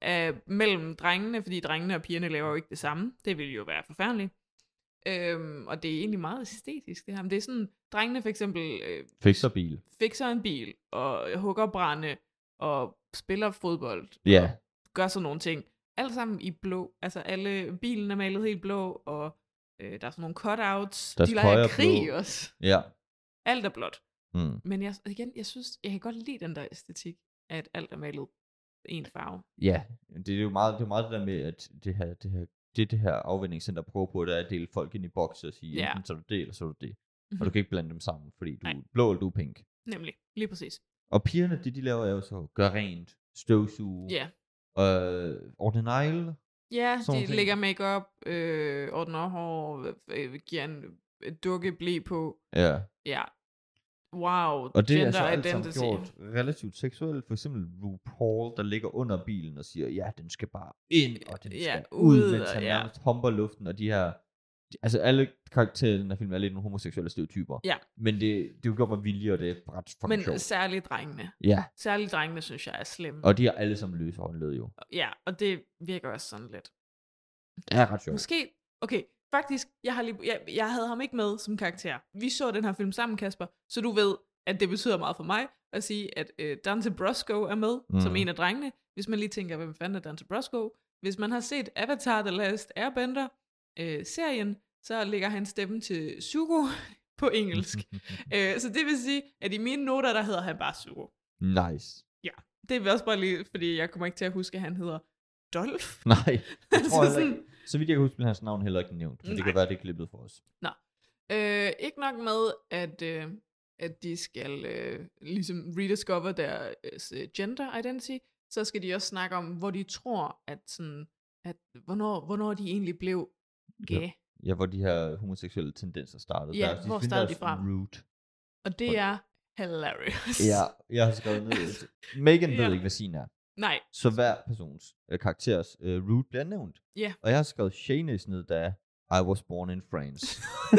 [SPEAKER 2] af, mellem drengene, fordi drengene og pigerne laver jo ikke det samme. Det ville jo være forfærdeligt. Øhm, og det er egentlig meget æstetisk det her. Men det er sådan, drengene for eksempel øh,
[SPEAKER 6] Fikser bil.
[SPEAKER 2] fikser en bil, og hugger brænde, og spiller fodbold,
[SPEAKER 6] Ja.
[SPEAKER 2] gør sådan nogle ting. Alt sammen i blå. Altså alle, bilen er malet helt blå, og øh, der er sådan nogle cutouts.
[SPEAKER 6] Deres
[SPEAKER 2] De
[SPEAKER 6] tøj
[SPEAKER 2] leger
[SPEAKER 6] er
[SPEAKER 2] krig
[SPEAKER 6] blå.
[SPEAKER 2] også.
[SPEAKER 6] Ja.
[SPEAKER 2] Alt er blåt.
[SPEAKER 6] Mm.
[SPEAKER 2] Men jeg, igen, jeg synes, jeg kan godt lide den der æstetik, at alt er malet en farve.
[SPEAKER 6] Ja, det er jo meget det, er jo meget det der med, at det her, det her, det, det her afvendingscenter prøver på, det er at dele folk ind i bokse og sige,
[SPEAKER 2] Ja.
[SPEAKER 6] ja. enten så er du det, eller så er du det. Og
[SPEAKER 2] Mhm.
[SPEAKER 6] du kan ikke blande dem sammen, fordi du
[SPEAKER 2] Nej.
[SPEAKER 6] er blå eller du er pink.
[SPEAKER 2] Nemlig, lige præcis.
[SPEAKER 6] Og pigerne, det de laver er jo så, gør rent, støvsuge,
[SPEAKER 2] Ja,
[SPEAKER 6] øh, ordne negle.
[SPEAKER 2] ja
[SPEAKER 6] Sådan
[SPEAKER 2] de
[SPEAKER 6] ting.
[SPEAKER 2] lægger makeup, øh, ordner hår, øh, giver en dukke blæ på.
[SPEAKER 6] Ja.
[SPEAKER 2] Ja. Wow,
[SPEAKER 6] Og det er
[SPEAKER 2] gender
[SPEAKER 6] altså alt sammen
[SPEAKER 2] identity.
[SPEAKER 6] gjort relativt seksuelt. For eksempel RuPaul, der ligger under bilen og siger, ja, den skal bare ind, og den
[SPEAKER 2] Ja,
[SPEAKER 6] skal ud,
[SPEAKER 2] ud,
[SPEAKER 6] mens
[SPEAKER 2] og
[SPEAKER 6] han
[SPEAKER 2] ja.
[SPEAKER 6] nærmest humper luften, og de her... de- Altså alle karaktererne i den her film er lidt nogle homoseksuelle stereotyper.
[SPEAKER 2] Ja.
[SPEAKER 6] Men det, det er jo gjort med vilje, og det er ret fucking Men,
[SPEAKER 2] Men
[SPEAKER 6] sjovt.
[SPEAKER 2] særligt drengene.
[SPEAKER 6] Ja,
[SPEAKER 2] Særligt drengene, synes jeg, er slemme.
[SPEAKER 6] og de har alle sammen løse håndled jo.
[SPEAKER 2] Ja, og det virker også sådan lidt.
[SPEAKER 6] Det er ret sjovt.
[SPEAKER 2] Måske, okay, faktisk, jeg, har lige, jeg, jeg havde ham ikke med som karakter. Vi så den her film sammen, Kasper, så du ved, at det betyder meget for mig at sige, at øh, Dante Brosco er med mm. som
[SPEAKER 6] Mhm.
[SPEAKER 2] en af drengene. Hvis man lige tænker, hvem fanden er Dante Brosco? Hvis man har set Avatar The Last Airbender-serien, øh, serien, så ligger han stemmen til Zuko på engelsk. øh, så det vil sige, at i mine noter, der hedder han bare Zuko.
[SPEAKER 6] Nice.
[SPEAKER 2] Det vil også bare lige, fordi jeg kommer ikke til at huske, at han hedder Dolph.
[SPEAKER 6] Nej, jeg Mm, tror
[SPEAKER 2] Altså
[SPEAKER 6] heller
[SPEAKER 2] sådan-
[SPEAKER 6] ikke. Så vidt jeg kan huske, blev hans navn heller ikke nævnt. Men det kan
[SPEAKER 2] Nej.
[SPEAKER 6] være, det er klippet for os.
[SPEAKER 2] Øh, ikke nok med, at, øh, at de skal øh, ligesom rediscover deres øh, gender identity, så skal de også snakke om, hvor de tror, at, sådan, at hvornår, hvornår de egentlig blev gay. Ja.
[SPEAKER 6] Ja, hvor de her homoseksuelle tendenser startede.
[SPEAKER 2] Ja,
[SPEAKER 6] Deres-
[SPEAKER 2] hvor
[SPEAKER 6] finder
[SPEAKER 2] startede
[SPEAKER 6] deres
[SPEAKER 2] de fra?
[SPEAKER 6] Root.
[SPEAKER 2] Og det er hilarious.
[SPEAKER 6] Ja, jeg har skrevet ned. Megan ved
[SPEAKER 2] Ja.
[SPEAKER 6] ikke, hvad sin er.
[SPEAKER 2] Nej,
[SPEAKER 6] Så hver persons øh, karakteres øh, root bliver nævnt.
[SPEAKER 2] Ja.
[SPEAKER 6] Og jeg har skrevet Shanes ned, der er, I was born in France.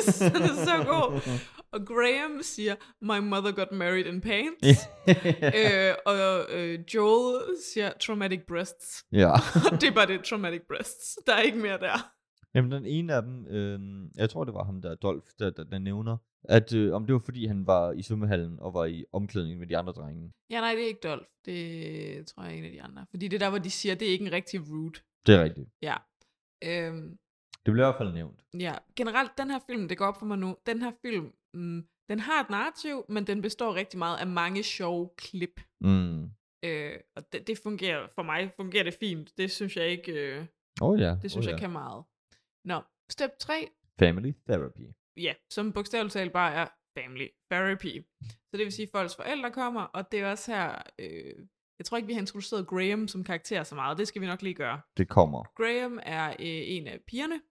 [SPEAKER 2] så det er så god. Og Graham siger, my mother got married in pains. øh, og øh, Joel siger, traumatic breasts.
[SPEAKER 6] ja.
[SPEAKER 2] Og det er bare det, traumatic breasts. Der er ikke mere der.
[SPEAKER 6] Jamen, den ene af dem, øh, jeg tror, det var ham, der er Dolph, der, der, der nævner, at øh, om det var, fordi han var i svømmehallen og var i omklædningen med de andre drenge.
[SPEAKER 2] Ja, nej, det er ikke Dolph. Det tror jeg er en af de andre. Fordi det der, hvor de siger, det er ikke en rigtig route.
[SPEAKER 6] Det er rigtigt.
[SPEAKER 2] Øhm,
[SPEAKER 6] Det blev i hvert fald nævnt.
[SPEAKER 2] ja, generelt, den her film, det går op for mig nu, den her film, mm, den har et narrativ, men den består rigtig meget af mange sjove klip.
[SPEAKER 6] Mm.
[SPEAKER 2] Øh, og det, det fungerer, for mig fungerer det fint. Det synes jeg ikke, øh,
[SPEAKER 6] Åh oh, ja.
[SPEAKER 2] det synes
[SPEAKER 6] oh,
[SPEAKER 2] oh,
[SPEAKER 6] ja.
[SPEAKER 2] jeg kan meget. Nå, step 3,
[SPEAKER 6] Family therapy.
[SPEAKER 2] ja, som bogstaveligt talt bare er family therapy. Så det vil sige, at folks forældre kommer, og det er også her, øh, jeg tror ikke, vi har introduceret Graham som karakter så meget, det skal vi nok lige gøre.
[SPEAKER 6] Det kommer.
[SPEAKER 2] Graham er øh, en af pigerne,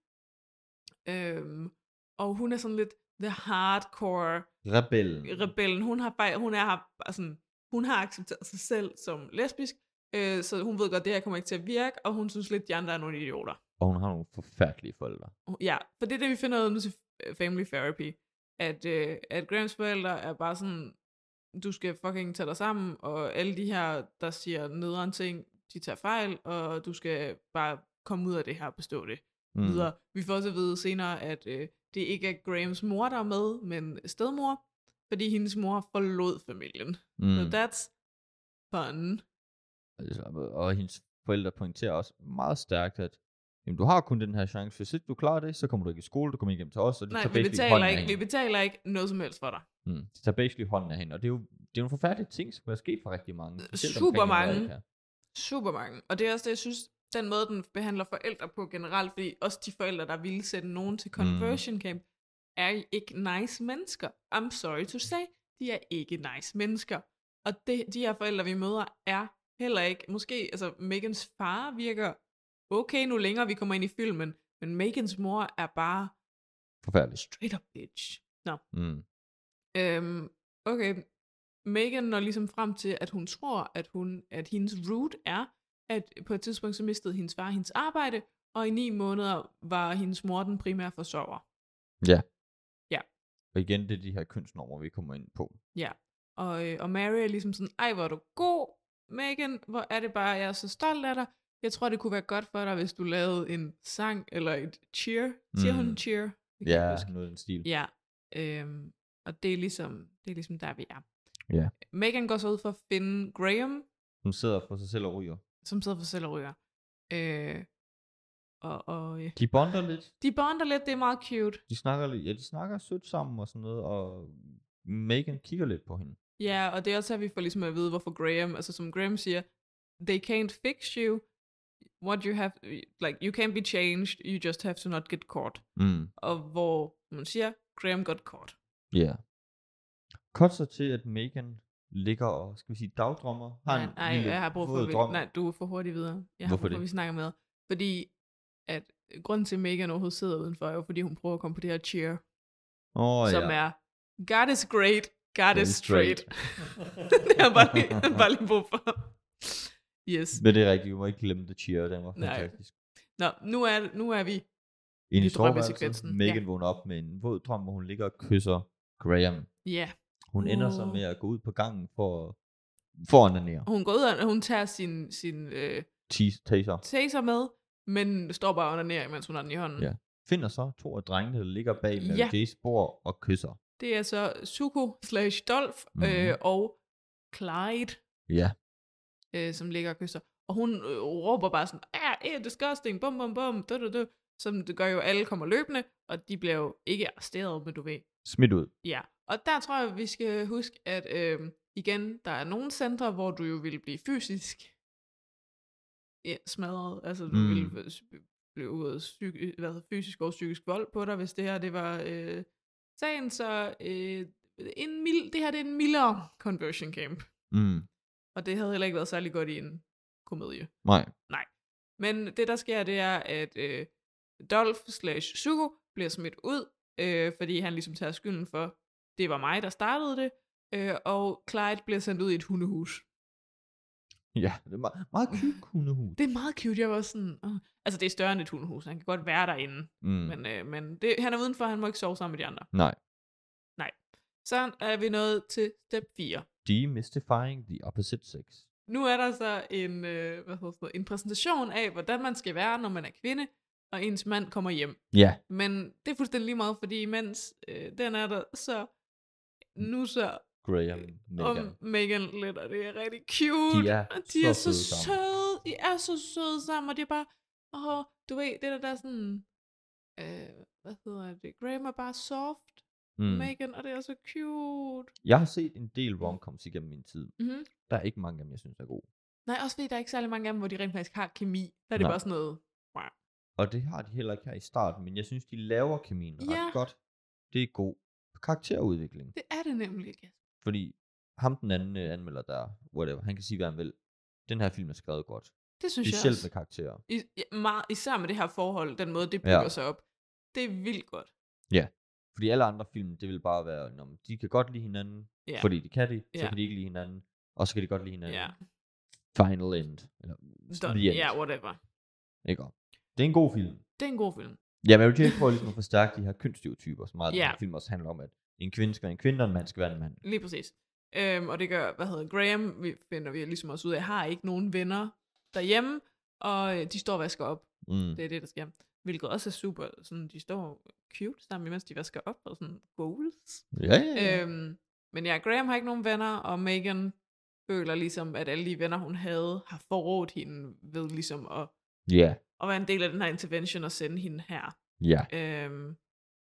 [SPEAKER 2] Øhm, og hun er sådan lidt the hardcore
[SPEAKER 6] Rebellen.
[SPEAKER 2] rebellen. Hun har, bare, hun, er, bare sådan, hun har accepteret sig selv som lesbisk, øh, så hun ved godt, at det her kommer ikke til at virke, og hun synes lidt, de andre er nogle idioter.
[SPEAKER 6] Og hun har nogle forfærdelige forældre.
[SPEAKER 2] Ja, for det er det, vi finder ud af nu til øh, Family Therapy. At, øh, at Grahams forældre er bare sådan, du skal fucking tage dig sammen, og alle de her, der siger nederen ting, de tager fejl, og du skal bare komme ud af det her og bestå det. Mm. Videre. Vi får også at vide senere, at øh, det ikke er Grahams mor, der er med, men stedmor, fordi hendes mor forlod familien. Mm. So
[SPEAKER 6] Mm.
[SPEAKER 2] that's fun.
[SPEAKER 6] Altså, Og hendes forældre pointerer også meget stærkt, at jamen, du har kun den her chance. Hvis ikke du klarer det, så kommer du ikke i skole, du kommer ikke hjem til os, og de
[SPEAKER 2] Nej,
[SPEAKER 6] tager
[SPEAKER 2] vi
[SPEAKER 6] basically hånden
[SPEAKER 2] betaler,
[SPEAKER 6] af
[SPEAKER 2] ikke, vi
[SPEAKER 6] hende.
[SPEAKER 2] betaler ikke noget som helst for dig.
[SPEAKER 6] Mm. De tager basically hånden af hende, og det er jo det er en forfærdelig ting, som er sket for rigtig mange. specielt
[SPEAKER 2] super
[SPEAKER 6] omkring
[SPEAKER 2] mange.
[SPEAKER 6] Amerika.
[SPEAKER 2] Super mange. Og det er også det, jeg synes, den måde, den behandler forældre på generelt, fordi også de forældre, der ville sætte nogen til conversion mm. camp, er I ikke nice mennesker. I'm sorry to say, de er ikke nice mennesker. Og det, de her forældre, vi møder, er heller ikke, måske, altså Megans far virker okay nu længere, vi kommer ind i filmen, men Megans mor er bare
[SPEAKER 6] Forfærdeligt.
[SPEAKER 2] straight up bitch. Nå,
[SPEAKER 6] Mm.
[SPEAKER 2] Øhm, okay. Megan når ligesom frem til, at hun tror, at, hun, at hendes root er, at på et tidspunkt så mistede hendes far hendes arbejde, og i ni måneder var hendes mor den primære forsørger.
[SPEAKER 6] Og igen, det er de her kønsnormer, vi kommer ind på.
[SPEAKER 2] Og, øh, og Mary er ligesom sådan, ej hvor er du god, Megan, hvor er det bare, jeg er så stolt af dig. Jeg tror, det kunne være godt for dig, hvis du lavede en sang eller et cheer. Siger mm. hun
[SPEAKER 6] Mm.
[SPEAKER 2] cheer? Det kan jeg
[SPEAKER 6] Ja,
[SPEAKER 2] ikke huske.
[SPEAKER 6] noget i den stil.
[SPEAKER 2] Ja, øhm, og det er, ligesom, det er ligesom der, vi er.
[SPEAKER 6] Ja.
[SPEAKER 2] Megan går så ud for at finde Graham,
[SPEAKER 6] Hun sidder for sig selv og ryger.
[SPEAKER 2] som sidder for sig selv og ryger. Øh, og, og øh,
[SPEAKER 6] De bonder lidt.
[SPEAKER 2] de bonder lidt, det er meget cute.
[SPEAKER 6] De snakker, lidt- ja, de snakker sødt sammen og sådan noget, og Megan kigger lidt på hende.
[SPEAKER 2] Ja, og det er også her, vi får ligesom at vide, hvorfor Graham, altså som Graham siger, they can't fix you, what you have, like, you can't be changed, you just have to not get caught.
[SPEAKER 6] Mm.
[SPEAKER 2] Og hvor man siger, Graham got caught.
[SPEAKER 6] Ja. Yeah. Kort så til, at Megan ligger og, skal vi sige, dagdrømmer. Har en
[SPEAKER 2] nej,
[SPEAKER 6] lille
[SPEAKER 2] jeg har brug for,
[SPEAKER 6] våd
[SPEAKER 2] at vi,
[SPEAKER 6] drøm.
[SPEAKER 2] nej, du er for hurtigt videre. Jeg har
[SPEAKER 6] Hvorfor
[SPEAKER 2] brug for,
[SPEAKER 6] det?
[SPEAKER 2] at vi snakker med. Fordi, at grunden til, at Megan overhovedet sidder udenfor, er jo, fordi hun prøver at komme på det her cheer,
[SPEAKER 6] Åh,
[SPEAKER 2] oh, som
[SPEAKER 6] ja.
[SPEAKER 2] er, God is great, God
[SPEAKER 6] Very
[SPEAKER 2] is straight. det har jeg bare lige, han bare lige brug for. Yes.
[SPEAKER 6] Men det er rigtigt, vi må ikke glemme The Cheer, den var
[SPEAKER 2] Nej.
[SPEAKER 6] fantastisk.
[SPEAKER 2] Nå, nu er, nu er vi.
[SPEAKER 6] Ind
[SPEAKER 2] I
[SPEAKER 6] i sovevalset,
[SPEAKER 2] drømmesekvensen,
[SPEAKER 6] Megan vågner op med en våd drøm, hvor hun ligger og kysser Graham.
[SPEAKER 2] Ja.
[SPEAKER 6] Hun ender så
[SPEAKER 2] Uh.
[SPEAKER 6] med at gå ud på gangen for, for at onanere.
[SPEAKER 2] Hun går ud, og hun tager sin, sin øh,
[SPEAKER 6] Tease- Taser.
[SPEAKER 2] taser med, men står bare under nær, mens hun har den i hånden.
[SPEAKER 6] Ja. Finder så to af drengene, der ligger bag Mary
[SPEAKER 2] Ja.
[SPEAKER 6] ja. J's bord og kysser.
[SPEAKER 2] Det er så Suko slash Dolph
[SPEAKER 6] Mhm.
[SPEAKER 2] øh, og Clyde,
[SPEAKER 6] Ja.
[SPEAKER 2] øh, som ligger og kysser. Og hun øh, råber bare sådan, ah, eh, disgusting, bum, bum, bum, du, du, du. Som det gør jo, alle kommer løbende, og de bliver jo ikke arresteret, men du ved,
[SPEAKER 6] Smidt ud.
[SPEAKER 2] Ja, og der tror jeg, vi skal huske, at øh, igen, der er nogle centre, hvor du jo vil blive fysisk ja, smadret. Altså, du mm.
[SPEAKER 6] Mm.
[SPEAKER 2] ville øh, s- blive ud af psyk- øh, hvad hedder, fysisk og psykisk vold på dig, hvis det her det var øh, sagen. Så øh, en mild, det her det er en mildere conversion camp.
[SPEAKER 6] Mm.
[SPEAKER 2] Og det havde heller ikke været særlig godt i en komedie.
[SPEAKER 6] Nej.
[SPEAKER 2] Men det, der sker, det er, at øh, Dolph slash Zuko bliver smidt ud, øh, fordi han ligesom tager skylden for, det var mig, der startede det, øh, og Clyde bliver sendt ud i et hundehus.
[SPEAKER 6] Ja, det er meget, meget cute hundehus.
[SPEAKER 2] Det er meget cute, jeg var sådan... Uh. Altså, det er større end et hundehus, han kan godt være derinde, mm.
[SPEAKER 6] Mm.
[SPEAKER 2] men, øh, men det, han er udenfor, han må ikke sove sammen med de andre.
[SPEAKER 6] Nej.
[SPEAKER 2] Så er vi nået til step 4.
[SPEAKER 6] Demystifying the opposite sex.
[SPEAKER 2] Nu er der så en, øh, hvad hedder sådan noget, en præsentation af, hvordan man skal være, når man er kvinde, og ens mand kommer hjem.
[SPEAKER 6] Ja.
[SPEAKER 2] Men det er fuldstændig lige meget, fordi imens øh, den er der, så nu så
[SPEAKER 6] Graham,
[SPEAKER 2] Megan.
[SPEAKER 6] Megan.
[SPEAKER 2] Øh, om Megan lidt, og det er rigtig cute.
[SPEAKER 6] De er
[SPEAKER 2] og de
[SPEAKER 6] så
[SPEAKER 2] er så
[SPEAKER 6] søde sammen.
[SPEAKER 2] søde. De er så søde sammen, og det er bare, åh, du ved, det der, der er sådan, øh, hvad hedder det, Graham er bare soft, mm.
[SPEAKER 6] Mm.
[SPEAKER 2] Megan, og det er så cute.
[SPEAKER 6] Jeg har set en
[SPEAKER 2] Mm.
[SPEAKER 6] del romcoms igennem min tid.
[SPEAKER 2] Mhm.
[SPEAKER 6] Der er ikke mange af dem, jeg synes er gode.
[SPEAKER 2] Nej, også fordi der er ikke særlig mange af dem, hvor de rent faktisk har kemi. Der er det
[SPEAKER 6] Nej.
[SPEAKER 2] bare sådan noget, wow.
[SPEAKER 6] Og det har de heller ikke her i starten, men jeg synes, de laver kemien ret
[SPEAKER 2] Ja.
[SPEAKER 6] godt. Det er god karakterudvikling.
[SPEAKER 2] det er det nemlig ikke.
[SPEAKER 6] Fordi ham den anden øh, anmelder der, whatever, han kan sige, hvad han vil. Den her film er skrevet godt.
[SPEAKER 2] Det synes
[SPEAKER 6] De
[SPEAKER 2] jeg
[SPEAKER 6] selv
[SPEAKER 2] også.
[SPEAKER 6] med karakterer.
[SPEAKER 2] I, ja, meget, især med det her forhold, den måde, det bygger ja.
[SPEAKER 6] Ja.
[SPEAKER 2] sig op. Det er vildt godt.
[SPEAKER 6] Fordi alle andre film, det vil bare være, når de kan godt lide hinanden,
[SPEAKER 2] Ja.
[SPEAKER 6] yeah. fordi det kan de, så
[SPEAKER 2] Ja.
[SPEAKER 6] yeah. kan de ikke lide hinanden, og så kan de godt lide hinanden.
[SPEAKER 2] Ja.
[SPEAKER 6] Final end. Eller
[SPEAKER 2] Done.
[SPEAKER 6] the end.
[SPEAKER 2] Ja, whatever.
[SPEAKER 6] Ikke? Det er en god film.
[SPEAKER 2] Det er en god film.
[SPEAKER 6] Ja, men jeg vil gerne prøve ligesom at forstærke de her kønsstereotyper, så meget yeah.
[SPEAKER 2] Ja.
[SPEAKER 6] den her film også handler om, at en kvinde skal være en kvinde, og en mand skal være en mand.
[SPEAKER 2] Lige præcis. Øhm, og det gør, hvad hedder Graham, vi finder vi ligesom også ud af, har ikke nogen venner derhjemme, og øh, de står og vasker op.
[SPEAKER 6] Mm.
[SPEAKER 2] Det er det, der sker. Hvilket også er super, sådan, de står cute sammen, mens de vasker op, og sådan goals.
[SPEAKER 6] Ja, ja, ja.
[SPEAKER 2] Øhm, men ja, Graham har ikke nogen venner, og Megan føler ligesom, at alle de venner, hun havde, har forrådt hende ved ligesom at,
[SPEAKER 6] Ja,
[SPEAKER 2] at være en del af den her intervention og sende hende her.
[SPEAKER 6] ja.
[SPEAKER 2] Øhm,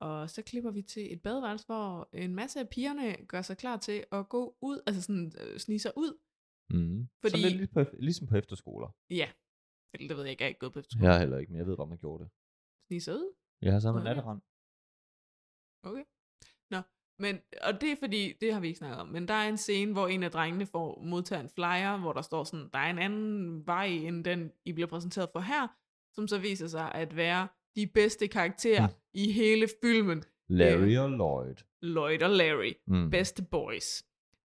[SPEAKER 2] og så klipper vi til et badeværelse, hvor en masse af pigerne gør sig klar til at gå ud, altså sådan øh, snige sig ud.
[SPEAKER 6] Mm.
[SPEAKER 2] Fordi-
[SPEAKER 6] Fordi... Sådan lidt på, ligesom på efterskoler.
[SPEAKER 2] Ja, Eller det ved jeg ikke, jeg er ikke gået på efterskole.
[SPEAKER 6] Jeg har heller ikke, men jeg ved, hvor man gjorde det.
[SPEAKER 2] Snige sig ud.
[SPEAKER 6] Jeg har sammen med
[SPEAKER 2] Nå, ja.
[SPEAKER 6] natterand.
[SPEAKER 2] Okay. Nå, men, og det er fordi, det har vi ikke snakket om, men der er en scene, hvor en af drengene får modtager en flyer, hvor der står sådan, der er en anden vej, end den, I bliver præsenteret for her, som så viser sig at være de bedste karakterer
[SPEAKER 6] Mm.
[SPEAKER 2] i hele filmen.
[SPEAKER 6] Larry og Lloyd.
[SPEAKER 2] Lloyd og Larry.
[SPEAKER 6] Mm.
[SPEAKER 2] Øh. Best Boys.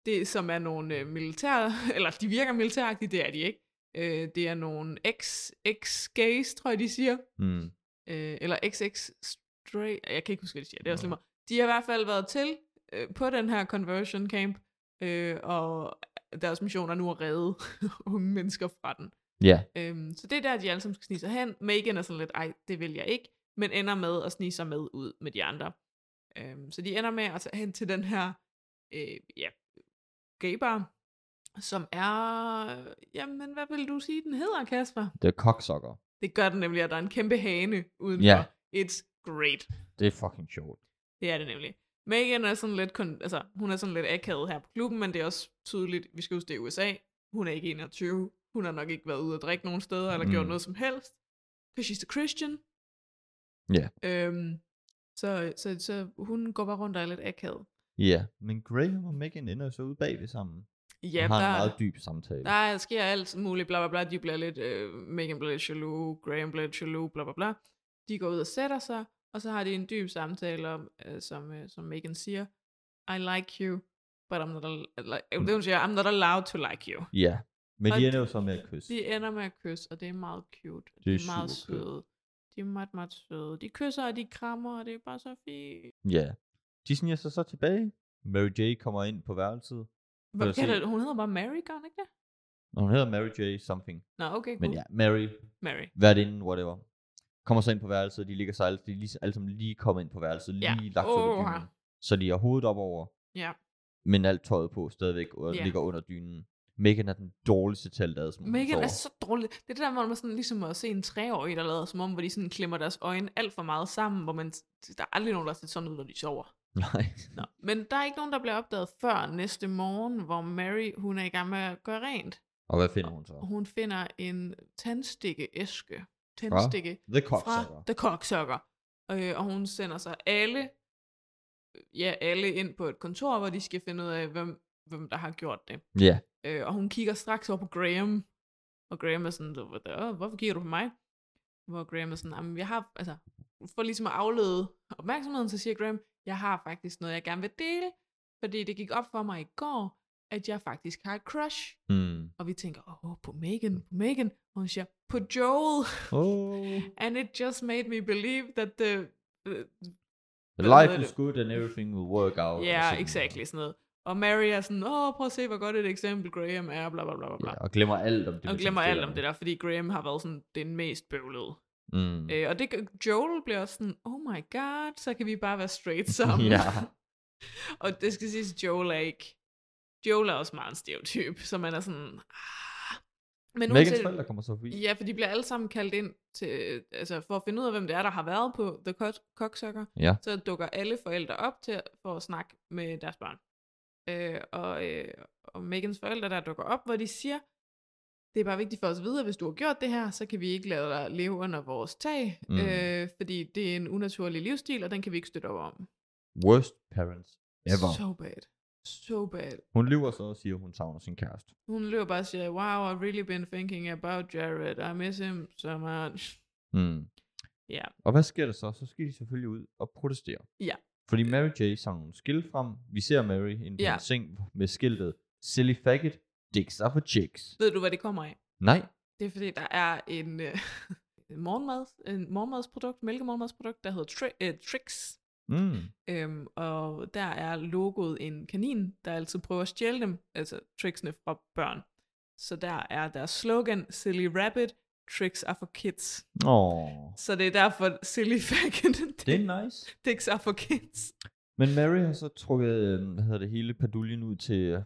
[SPEAKER 2] Det som er nogle øh, militære, eller de virker militæragtige, det er de ikke. Øh, det er nogle ex, ex-gays, tror jeg de siger,
[SPEAKER 6] Mm.
[SPEAKER 2] øh, eller ex straight jeg kan ikke huske, hvad de siger, det er
[SPEAKER 6] Nå.
[SPEAKER 2] også lige meget. De har i hvert fald været til øh, på den her conversion camp, øh, og deres mission er nu at redde unge mennesker fra den.
[SPEAKER 6] Ja,
[SPEAKER 2] Øhm, så det er der, de alle sammen skal snige sig hen. Megan er sådan lidt, ej, det vil jeg ikke, men ender med at snige sig med ud med de andre. Øhm, så de ender med at tage hen til den her øh, ja, gaybar, som er, jamen hvad vil du sige, den hedder, Kasper?
[SPEAKER 6] det er cocksucker.
[SPEAKER 2] Det gør den nemlig, at der er en kæmpe hane udenfor.
[SPEAKER 6] Ja.
[SPEAKER 2] It's great.
[SPEAKER 6] Det er fucking sjovt.
[SPEAKER 2] Det er det nemlig. Megan er sådan lidt, kon- altså, hun er sådan lidt akavet her på klubben, men det er også tydeligt, vi skal huske, det er USA. Hun er ikke 21. Hun har nok ikke været ude at drikke nogen steder, eller mm. gjort
[SPEAKER 6] Mm.
[SPEAKER 2] noget som helst. Because she's a Christian.
[SPEAKER 6] Ja.
[SPEAKER 2] Øhm, så, så, så hun går bare rundt og er lidt akavet.
[SPEAKER 6] Ja, men Graham og Megan ender jo så ude bagved sammen.
[SPEAKER 2] Ja,
[SPEAKER 6] og har en
[SPEAKER 2] der,
[SPEAKER 6] meget dyb samtale.
[SPEAKER 2] der sker alt muligt, bla bla bla. De bliver lidt, øh, Megan bliver lidt jaloux, Graham bliver lidt jaloux, bla bla bla. De går ud og sætter sig, og så har de en dyb samtale om, øh, som, øh, som Megan siger, I like you, but I'm not, al- like,
[SPEAKER 6] Mm.
[SPEAKER 2] øh, det, hun siger, I'm not allowed to like you.
[SPEAKER 6] Ja, men
[SPEAKER 2] Og
[SPEAKER 6] de ender jo så med at kysse.
[SPEAKER 2] De ender med at kysse, og det er meget cute.
[SPEAKER 6] Det
[SPEAKER 2] de
[SPEAKER 6] er
[SPEAKER 2] er meget
[SPEAKER 6] super cute.
[SPEAKER 2] søde. De er meget, meget søde. De kysser, og de krammer, og det er bare så fint.
[SPEAKER 6] Ja. De sniger sig så tilbage. Mary J. kommer ind på værelset.
[SPEAKER 2] Hvad
[SPEAKER 6] Lad os se.
[SPEAKER 2] hedder det? Hun hedder bare Mary, gør hun ikke det?
[SPEAKER 6] Og hun hedder Mary J. something.
[SPEAKER 2] Nå, okay, cool.
[SPEAKER 6] Men ja, Mary,
[SPEAKER 2] Mary.
[SPEAKER 6] værtinden, whatever. Kommer så ind på værelset, de ligger sig alle, de er lige, alle sammen lige kommet ind på værelset,
[SPEAKER 2] Ja.
[SPEAKER 6] lige lagt under
[SPEAKER 2] Åha.
[SPEAKER 6] dynen. Så de har hovedet op over,
[SPEAKER 2] Ja.
[SPEAKER 6] men alt tøjet på stadigvæk og
[SPEAKER 2] Ja.
[SPEAKER 6] ligger under dynen. Megan er den dårligste talt ad, som hun
[SPEAKER 2] Megan
[SPEAKER 6] sover.
[SPEAKER 2] er så dårlig. Det er det der, hvor man sådan, ligesom at se en treårig, der lader som om, hvor de sådan klemmer deres øjne alt for meget sammen, hvor man, der er aldrig nogen, der ser sådan ud, når de sover.
[SPEAKER 6] Nej.
[SPEAKER 2] Nå. Men der er ikke nogen, der bliver opdaget før næste morgen, hvor Mary, hun er i gang med at gøre rent.
[SPEAKER 6] Og hvad finder hun så?
[SPEAKER 2] Og hun finder en tandstikkeæske. Tændstikke
[SPEAKER 6] The
[SPEAKER 2] fra
[SPEAKER 6] Cocksucker.
[SPEAKER 2] The Cocksucker. Øh, og hun sender sig alle, øh, ja, alle ind på et kontor, hvor de skal finde ud af, hvem, hvem der har gjort det.
[SPEAKER 6] Ja.
[SPEAKER 2] Øh, og hun kigger straks over på Graham. Og Graham er sådan, "Hvad- hvad- åh, hvorfor kigger du på mig? Hvor Graham er sådan, "Jamen, jeg har, altså, for ligesom at aflede opmærksomheden, så siger Graham, jeg har faktisk noget, jeg gerne vil dele, fordi det gik op for mig i går, at jeg faktisk har et crush.
[SPEAKER 6] Mm.
[SPEAKER 2] Og vi tænker, åh, på Megan, på Megan. Og hun siger, på Joel.
[SPEAKER 6] Oh,
[SPEAKER 2] And it just made me believe that the, the
[SPEAKER 6] the
[SPEAKER 2] Hvad
[SPEAKER 6] life
[SPEAKER 2] hedder
[SPEAKER 6] is good and everything will work out.
[SPEAKER 2] ja,
[SPEAKER 6] og
[SPEAKER 2] yeah,
[SPEAKER 6] sådan-
[SPEAKER 2] exactly, sådan noget. Og Mary er sådan, åh, prøv at se, hvor godt et eksempel Graham er, bla bla bla bla. bla.
[SPEAKER 6] Ja, og glemmer alt om det.
[SPEAKER 2] og
[SPEAKER 6] med
[SPEAKER 2] glemmer alt om det
[SPEAKER 6] tændstikkerne.
[SPEAKER 2] der, fordi Graham har været sådan den mest bøvlede.
[SPEAKER 6] Mm.
[SPEAKER 2] Øh, og det, gør- Joel bliver også sådan, oh my god, så kan vi bare være straight sammen.
[SPEAKER 6] Ja.
[SPEAKER 2] og det skal siges, Joel er ikke... Joel er også meget en stereotyp, så man er sådan... Ah. Men
[SPEAKER 6] Megans forældre kommer så forbi.
[SPEAKER 2] Ja, for de bliver alle sammen kaldt ind til, altså for at finde ud af, hvem det er, der har været på The Cock- Cocksucker.
[SPEAKER 6] Ja.
[SPEAKER 2] Så dukker alle forældre op til, for at snakke med deres børn. Øh, og, øh, og Megans forældre, der dukker op, hvor de siger, det er bare vigtigt for os at vide, at hvis du har gjort det her, så kan vi ikke lade dig leve under vores tag,
[SPEAKER 6] Mm.
[SPEAKER 2] mm. øh, fordi det er en unaturlig livsstil, og den kan vi ikke støtte op om.
[SPEAKER 6] Worst parents ever.
[SPEAKER 2] So bad. So bad.
[SPEAKER 6] Hun lyver så og siger, at hun savner sin kæreste.
[SPEAKER 2] Hun løber bare og siger, wow, I've really been thinking about Jared. I miss him so much.
[SPEAKER 6] Mm.
[SPEAKER 2] Ja.
[SPEAKER 6] Og hvad sker der så? Så skal de selvfølgelig ud og protestere.
[SPEAKER 2] Ja.
[SPEAKER 6] Fordi Mary J. sang nogle skilt frem. Vi ser Mary inde på
[SPEAKER 2] Ja.
[SPEAKER 6] ja. seng med skiltet Silly faggot, dicks are for chicks.
[SPEAKER 2] Ved du, hvad det kommer af?
[SPEAKER 6] Nej.
[SPEAKER 2] Det er fordi, der er en, øh, en morgenmad, en morgenmadsprodukt, mælkemorgenmadsprodukt, der hedder tri- øh, Trix.
[SPEAKER 6] Mm.
[SPEAKER 2] Øhm, og der er logoet en kanin, der altid prøver at stjæle dem, altså tricksene fra børn. Så der er deres slogan, Silly Rabbit, Tricks are for kids.
[SPEAKER 6] Åh,
[SPEAKER 2] Så det er derfor Silly Faggot,
[SPEAKER 6] det er nice.
[SPEAKER 2] Dicks are for kids.
[SPEAKER 6] Men Mary har så trukket, øh, hvad hedder det, hele paduljen ud til øh,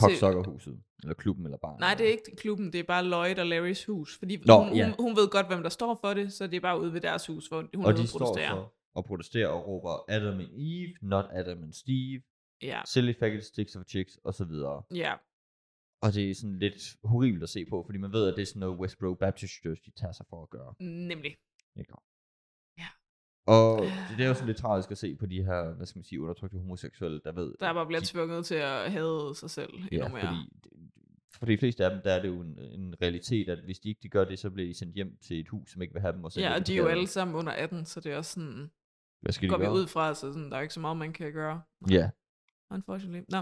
[SPEAKER 6] koksokkerhuset. Eller klubben, eller baren.
[SPEAKER 2] Nej, det er ikke klubben, det er bare Lloyd og Larrys hus. Fordi
[SPEAKER 6] Nå,
[SPEAKER 2] hun,
[SPEAKER 6] ja.
[SPEAKER 2] hun, hun ved godt, hvem der står for det, så det er bare ude ved deres hus, hvor hun
[SPEAKER 6] Og
[SPEAKER 2] er ude
[SPEAKER 6] de
[SPEAKER 2] at
[SPEAKER 6] står
[SPEAKER 2] protestere.
[SPEAKER 6] så og protesterer og råber Adam and Eve, not Adam and Steve,
[SPEAKER 2] Ja,
[SPEAKER 6] silly faggot sticks of chicks, og så videre.
[SPEAKER 2] ja,
[SPEAKER 6] Og det er sådan lidt horribelt at se på, fordi man ved, at det er sådan noget Westboro Baptist Church, de tager sig for at gøre.
[SPEAKER 2] nemlig.
[SPEAKER 6] Ikke?
[SPEAKER 2] Ja.
[SPEAKER 6] Og
[SPEAKER 2] Ah.
[SPEAKER 6] det, det er jo sådan lidt tragisk at se på de her, hvad skal man sige, undertrykte homoseksuelle, der ved...
[SPEAKER 2] Der bare bliver
[SPEAKER 6] de-
[SPEAKER 2] tvunget til at hade sig selv endnu
[SPEAKER 6] Ja,
[SPEAKER 2] mere.
[SPEAKER 6] fordi det- for de fleste af dem, der er det jo en, en realitet, at hvis de ikke de gør det, så bliver de sendt hjem til et hus, som ikke vil have dem. Og så
[SPEAKER 2] Ja,
[SPEAKER 6] bliver
[SPEAKER 2] og de er jo
[SPEAKER 6] beskattet.
[SPEAKER 2] alle sammen under 18, så det er også sådan,
[SPEAKER 6] Hvad skal de
[SPEAKER 2] går vi
[SPEAKER 6] gøre?
[SPEAKER 2] ud fra, så sådan, der er ikke så meget, man kan gøre.
[SPEAKER 6] Ja.
[SPEAKER 2] Unfortunately. Nå,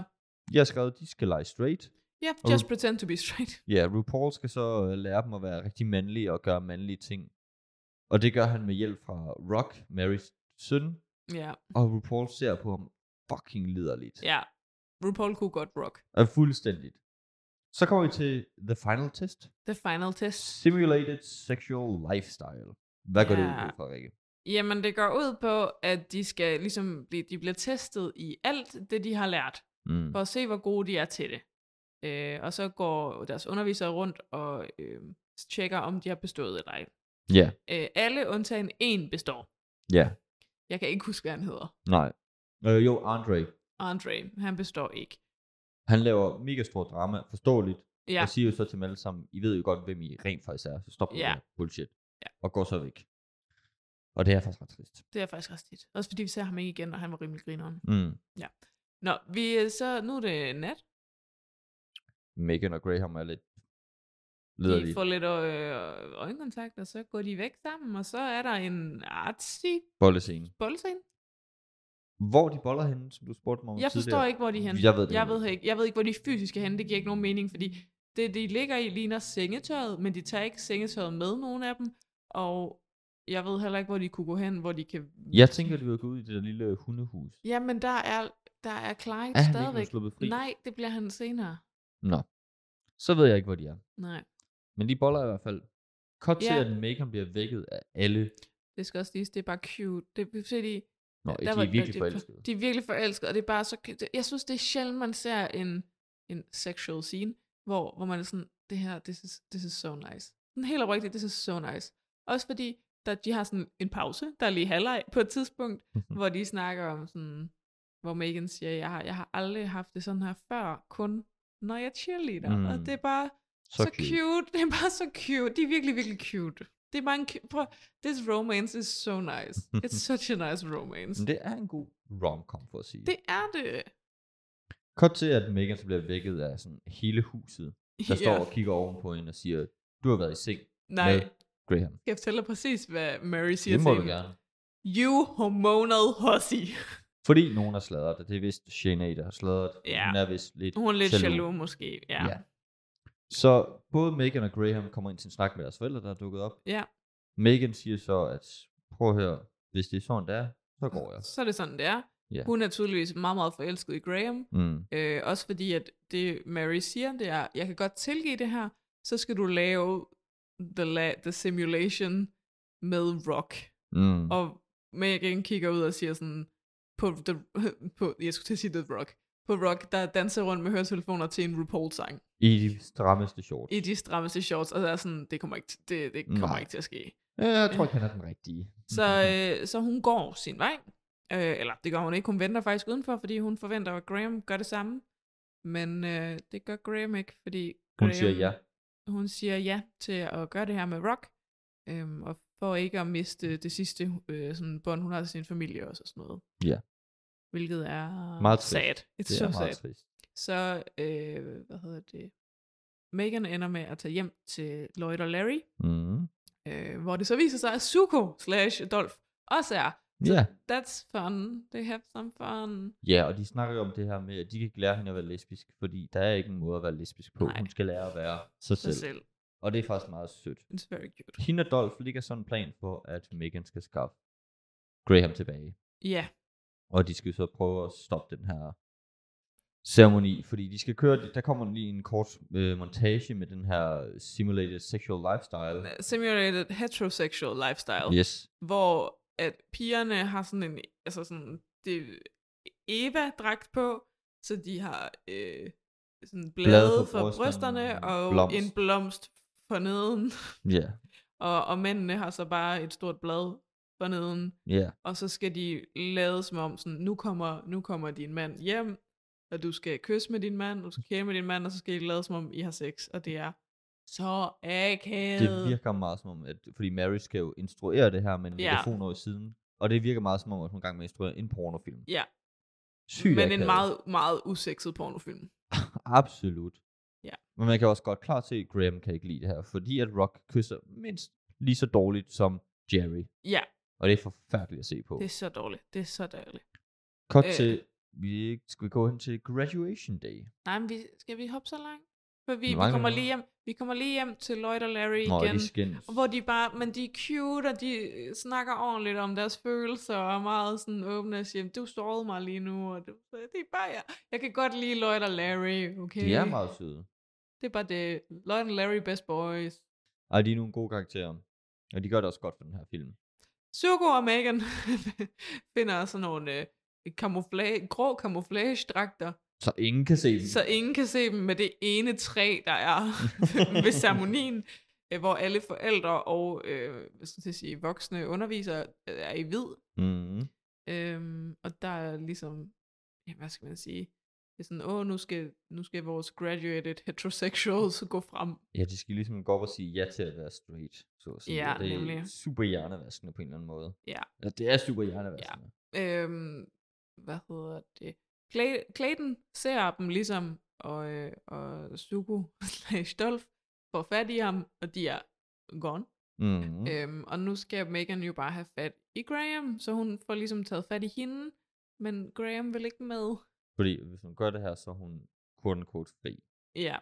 [SPEAKER 6] Jeg har skrevet, de skal lege straight.
[SPEAKER 2] ja,
[SPEAKER 6] Og-
[SPEAKER 2] yeah, just pretend to be straight.
[SPEAKER 6] Ja, RuPaul skal så øh, lære dem at være rigtig mandlige og gøre mandlige ting. Og det gør han med hjælp fra Rock, Marys søn,
[SPEAKER 2] Ja,
[SPEAKER 6] og RuPaul ser på ham fucking liderligt.
[SPEAKER 2] ja. RuPaul kunne godt rock.
[SPEAKER 6] Er fuldstændigt. Så kommer vi til the final test.
[SPEAKER 2] The final test.
[SPEAKER 6] Simulated sexual lifestyle. Hvad går det
[SPEAKER 2] Ja.
[SPEAKER 6] ud på, Rikke?
[SPEAKER 2] Jamen, det går ud på, at de skal ligesom, blive- de bliver testet i alt det, de har lært,
[SPEAKER 6] Mm.
[SPEAKER 2] for at se, hvor gode de er til det. Øh, og så går deres undervisere rundt og øh, tjekker, om de har bestået eller ej.
[SPEAKER 6] Ja,
[SPEAKER 2] Øh, alle undtagen en består.
[SPEAKER 6] ja,
[SPEAKER 2] Jeg kan ikke huske, hvad han hedder.
[SPEAKER 6] nej. Øh, jo, Andre,
[SPEAKER 2] Andre, han består ikke.
[SPEAKER 6] han laver mega stor drama, forståeligt,
[SPEAKER 2] Ja,
[SPEAKER 6] og siger jo så til dem alle sammen, I ved jo godt, hvem I rent faktisk er, så stop med
[SPEAKER 2] Ja.
[SPEAKER 6] det her bullshit,
[SPEAKER 2] Ja.
[SPEAKER 6] og går så væk. Og det er faktisk ret trist.
[SPEAKER 2] det er faktisk ret tit. Også fordi vi ser ham ikke igen, og han var rimelig grineren.
[SPEAKER 6] Mm.
[SPEAKER 2] Nå, vi er så, nu er det nat.
[SPEAKER 6] Megan og Graham er lidt
[SPEAKER 2] De
[SPEAKER 6] lederlige.
[SPEAKER 2] får lidt øh, øjenkontakt, og så går de væk sammen, og så er der en artsy
[SPEAKER 6] Bollescene.
[SPEAKER 2] boldscene.
[SPEAKER 6] Hvor de boller henne, som du spurgte mig om
[SPEAKER 2] Jeg forstår
[SPEAKER 6] tidligere?
[SPEAKER 2] ikke, hvor de er henne.
[SPEAKER 6] Jeg ved det
[SPEAKER 2] jeg
[SPEAKER 6] heller
[SPEAKER 2] ved, ikke. jeg ved ikke, hvor de fysisk er henne. Det giver ikke nogen mening, fordi det, de ligger i, ligner sengetøjet, men de tager ikke sengetøjet med, nogen af dem. Og jeg ved heller ikke, hvor de kunne gå hen, hvor de kan...
[SPEAKER 6] Jeg tænker, at vi vil gå ud i det der lille hundehus.
[SPEAKER 2] Ja, men der er, der er Clyde
[SPEAKER 6] Er han ikke
[SPEAKER 2] stadigvæk.
[SPEAKER 6] blevet sluppet fri?
[SPEAKER 2] Nej, det bliver han senere.
[SPEAKER 6] Nå. Så ved jeg ikke, hvor de er.
[SPEAKER 2] Nej.
[SPEAKER 6] Men de boller i hvert fald. Kort til,
[SPEAKER 2] Ja.
[SPEAKER 6] at Megan bliver vækket af alle.
[SPEAKER 2] Det skal også siges, det er bare cute. Det er fordi,
[SPEAKER 6] Nå,
[SPEAKER 2] Ja,
[SPEAKER 6] ja, de
[SPEAKER 2] var-
[SPEAKER 6] er virkelig
[SPEAKER 2] de-
[SPEAKER 6] forelskede.
[SPEAKER 2] De er virkelig forelskede, og det er bare så... det- Jeg synes, det er sjældent, man ser en, en sexual scene, hvor, hvor man er sådan, det her, this is, this is so nice. Den helt oprigtigt, this is so nice. Også fordi, der, de har sådan en pause, der er lige halvleg på et tidspunkt,
[SPEAKER 6] Mhm.
[SPEAKER 2] hvor de snakker om sådan, hvor Megan siger, jeg har, jeg har aldrig haft det sådan her før, kun når jeg cheerleader. Mm. Og
[SPEAKER 6] Mm.
[SPEAKER 2] det er bare så, så cute. cute. Det er bare så cute. De er virkelig, virkelig cute. Det er bare en cu- Prøv, this romance is so nice. It's such a nice romance.
[SPEAKER 6] Men det er en god rom-com, for at sige.
[SPEAKER 2] Det er det.
[SPEAKER 6] Kort til, at Megan så bliver vækket af sådan hele huset, der står og kigger ovenpå hende og siger, du har været i seng
[SPEAKER 2] Nej,
[SPEAKER 6] med Graham.
[SPEAKER 2] skal jeg fortælle dig præcis, hvad Mary siger
[SPEAKER 6] Det må
[SPEAKER 2] til
[SPEAKER 6] du
[SPEAKER 2] hende?
[SPEAKER 6] gerne.
[SPEAKER 2] You hormonal hussy.
[SPEAKER 6] Fordi nogen har sladret det. Det er vist Shanae, der har sladret.
[SPEAKER 2] Ja.
[SPEAKER 6] Hun er vist lidt
[SPEAKER 2] Hun er lidt jaloux, jaloux måske. Ja.
[SPEAKER 6] Ja. Så både Megan og Graham kommer ind til en snak med deres forældre, der er dukket op.
[SPEAKER 2] ja.
[SPEAKER 6] Megan siger så, at prøv at høre, hvis det er sådan, det er, så går jeg.
[SPEAKER 2] Så er det sådan, det er.
[SPEAKER 6] Ja.
[SPEAKER 2] Hun er tydeligvis meget, meget forelsket i Graham.
[SPEAKER 6] Mm.
[SPEAKER 2] Øh, også fordi, at det Mary siger, det er, jeg kan godt tilgive det her, så skal du lave the, la- the simulation med rock.
[SPEAKER 6] Mm.
[SPEAKER 2] Og Megan kigger ud og siger sådan, på, the, på jeg skulle til at sige The Rock, på Rock, der danser rundt med høretelefoner til en RuPaul-sang.
[SPEAKER 6] I de strammeste shorts.
[SPEAKER 2] i de strammeste shorts, og der er sådan, det kommer ikke, det, det kommer
[SPEAKER 6] Nej.
[SPEAKER 2] ikke til at ske.
[SPEAKER 6] Ja, jeg tror ikke, han er den rigtige.
[SPEAKER 2] Så,
[SPEAKER 6] Mhm.
[SPEAKER 2] øh, så hun går sin vej, øh, eller det gør hun ikke, hun venter faktisk udenfor, fordi hun forventer, at Graham gør det samme, men øh, det gør Graham ikke, fordi Graham,
[SPEAKER 6] Hun siger ja.
[SPEAKER 2] hun siger ja til at gøre det her med Rock, øhm, og for ikke at miste det sidste øh, sådan bånd, hun har til sin familie også, og sådan noget.
[SPEAKER 6] Ja.
[SPEAKER 2] Hvilket er
[SPEAKER 6] Meget trist.
[SPEAKER 2] sad. It's
[SPEAKER 6] Det
[SPEAKER 2] so
[SPEAKER 6] er
[SPEAKER 2] sad.
[SPEAKER 6] meget trist.
[SPEAKER 2] Så, øh, hvad hedder det, Megan ender med at tage hjem til Lloyd og Larry,
[SPEAKER 6] Mm.
[SPEAKER 2] Øh, hvor det så viser sig, at Zuko slash Adolf også er.
[SPEAKER 6] Ja.
[SPEAKER 2] That's fun. They have some fun.
[SPEAKER 6] Ja, og de snakker jo om det her med, at de kan ikke lære hende at være lesbisk, fordi der er ikke en måde at være lesbisk på.
[SPEAKER 2] Nej.
[SPEAKER 6] Nej. Hun skal lære at være sig
[SPEAKER 2] Sig
[SPEAKER 6] selv.
[SPEAKER 2] selv.
[SPEAKER 6] Og det er faktisk meget sødt.
[SPEAKER 2] It's very cute.
[SPEAKER 6] Hende og Dolph ligger sådan en plan for, at Megan skal skaffe Graham tilbage.
[SPEAKER 2] Ja,
[SPEAKER 6] Og de skal så prøve at stoppe den her ceremoni, fordi de skal køre, der kommer lige en kort øh, montage med den her simulated sexual lifestyle.
[SPEAKER 2] simulated heterosexual lifestyle.
[SPEAKER 6] Yes.
[SPEAKER 2] hvor at pigerne har sådan en, altså sådan, det Eva-dragt på, så de har øh, sådan blade, blade for, for brysterne og blomst.
[SPEAKER 6] blomst.
[SPEAKER 2] en blomst for neden,
[SPEAKER 6] Ja.
[SPEAKER 2] og, og mændene har så bare et stort blad for neden,
[SPEAKER 6] Ja.
[SPEAKER 2] og så skal de lade som om sådan, nu kommer, nu kommer din mand hjem, og du skal kysse med din mand, og du skal kæle med din mand, og så skal I lade som om I har sex, og det er så
[SPEAKER 6] Det
[SPEAKER 2] akavet.
[SPEAKER 6] virker meget som om, at, fordi Mary skal jo instruere det her med en
[SPEAKER 2] Ja.
[SPEAKER 6] ja. mikrofon over i siden, og det virker meget som om, at hun er i gang med at instruere en pornofilm.
[SPEAKER 2] Ja,
[SPEAKER 6] Sygt
[SPEAKER 2] men en
[SPEAKER 6] akavet.
[SPEAKER 2] meget, meget usekset pornofilm.
[SPEAKER 6] Absolut.
[SPEAKER 2] Ja.
[SPEAKER 6] Men man kan også godt klart se, at Graham kan ikke lide det her, fordi at Rock kysser mindst lige så dårligt som Jerry.
[SPEAKER 2] Ja,
[SPEAKER 6] Og det er forfærdeligt at se på.
[SPEAKER 2] Det er så dårligt. Det er så dårligt.
[SPEAKER 6] Kort
[SPEAKER 2] øh.
[SPEAKER 6] til, vi skal vi gå hen til graduation day.
[SPEAKER 2] Nej, men vi, skal vi hoppe så langt? For vi, vi
[SPEAKER 6] Hvor mange
[SPEAKER 2] kommer
[SPEAKER 6] minutter?
[SPEAKER 2] lige hjem, vi kommer lige hjem til Lloyd og Larry
[SPEAKER 6] Nå,
[SPEAKER 2] igen.
[SPEAKER 6] de skændes.
[SPEAKER 2] Hvor de bare, men de er cute, og de øh, snakker ordentligt om deres følelser, og er meget sådan åbne og siger, du sårede mig lige nu, og det, det er bare jeg. Jeg kan godt lide Lloyd og Larry, okay?
[SPEAKER 6] De er meget søde.
[SPEAKER 2] Det er bare det. Lloyd og Larry, best boys.
[SPEAKER 6] Og de er nogle gode karakterer. Og de gør det også godt for den her film.
[SPEAKER 2] Zuko og Megan finder sådan nogle øh, camouflage, grå camouflage-dragter,
[SPEAKER 6] Så ingen kan se dem.
[SPEAKER 2] så ingen kan se dem med det ene træ, der er ved ceremonien, øh, hvor alle forældre og øh, hvad skal jeg sige, voksne undervisere øh, er i hvid.
[SPEAKER 6] Mm.
[SPEAKER 2] Øhm, og der er ligesom, ja, hvad skal man sige, det er sådan, åh, nu skal, nu skal vores graduated heterosexuals gå frem.
[SPEAKER 6] Ja, de skal ligesom gå op og sige ja til at være straight. Så at sige.
[SPEAKER 2] Ja,
[SPEAKER 6] Og det er
[SPEAKER 2] nemlig.
[SPEAKER 6] super hjernevaskende på en eller anden måde.
[SPEAKER 2] Ja.
[SPEAKER 6] Altså, det er super hjernevaskende.
[SPEAKER 2] Øhm, hvad hedder det? Clay- Clayton ser dem ligesom, og, øh, og Zuko slash Dolph får fat i ham, og de er gone.
[SPEAKER 6] Mm.
[SPEAKER 2] Øhm, og nu skal Megan jo bare have fat i Graham, så hun får ligesom taget fat i hende, men Graham vil ikke med.
[SPEAKER 6] Fordi hvis hun gør det her, så er hun quote unquote fri.
[SPEAKER 2] Ja,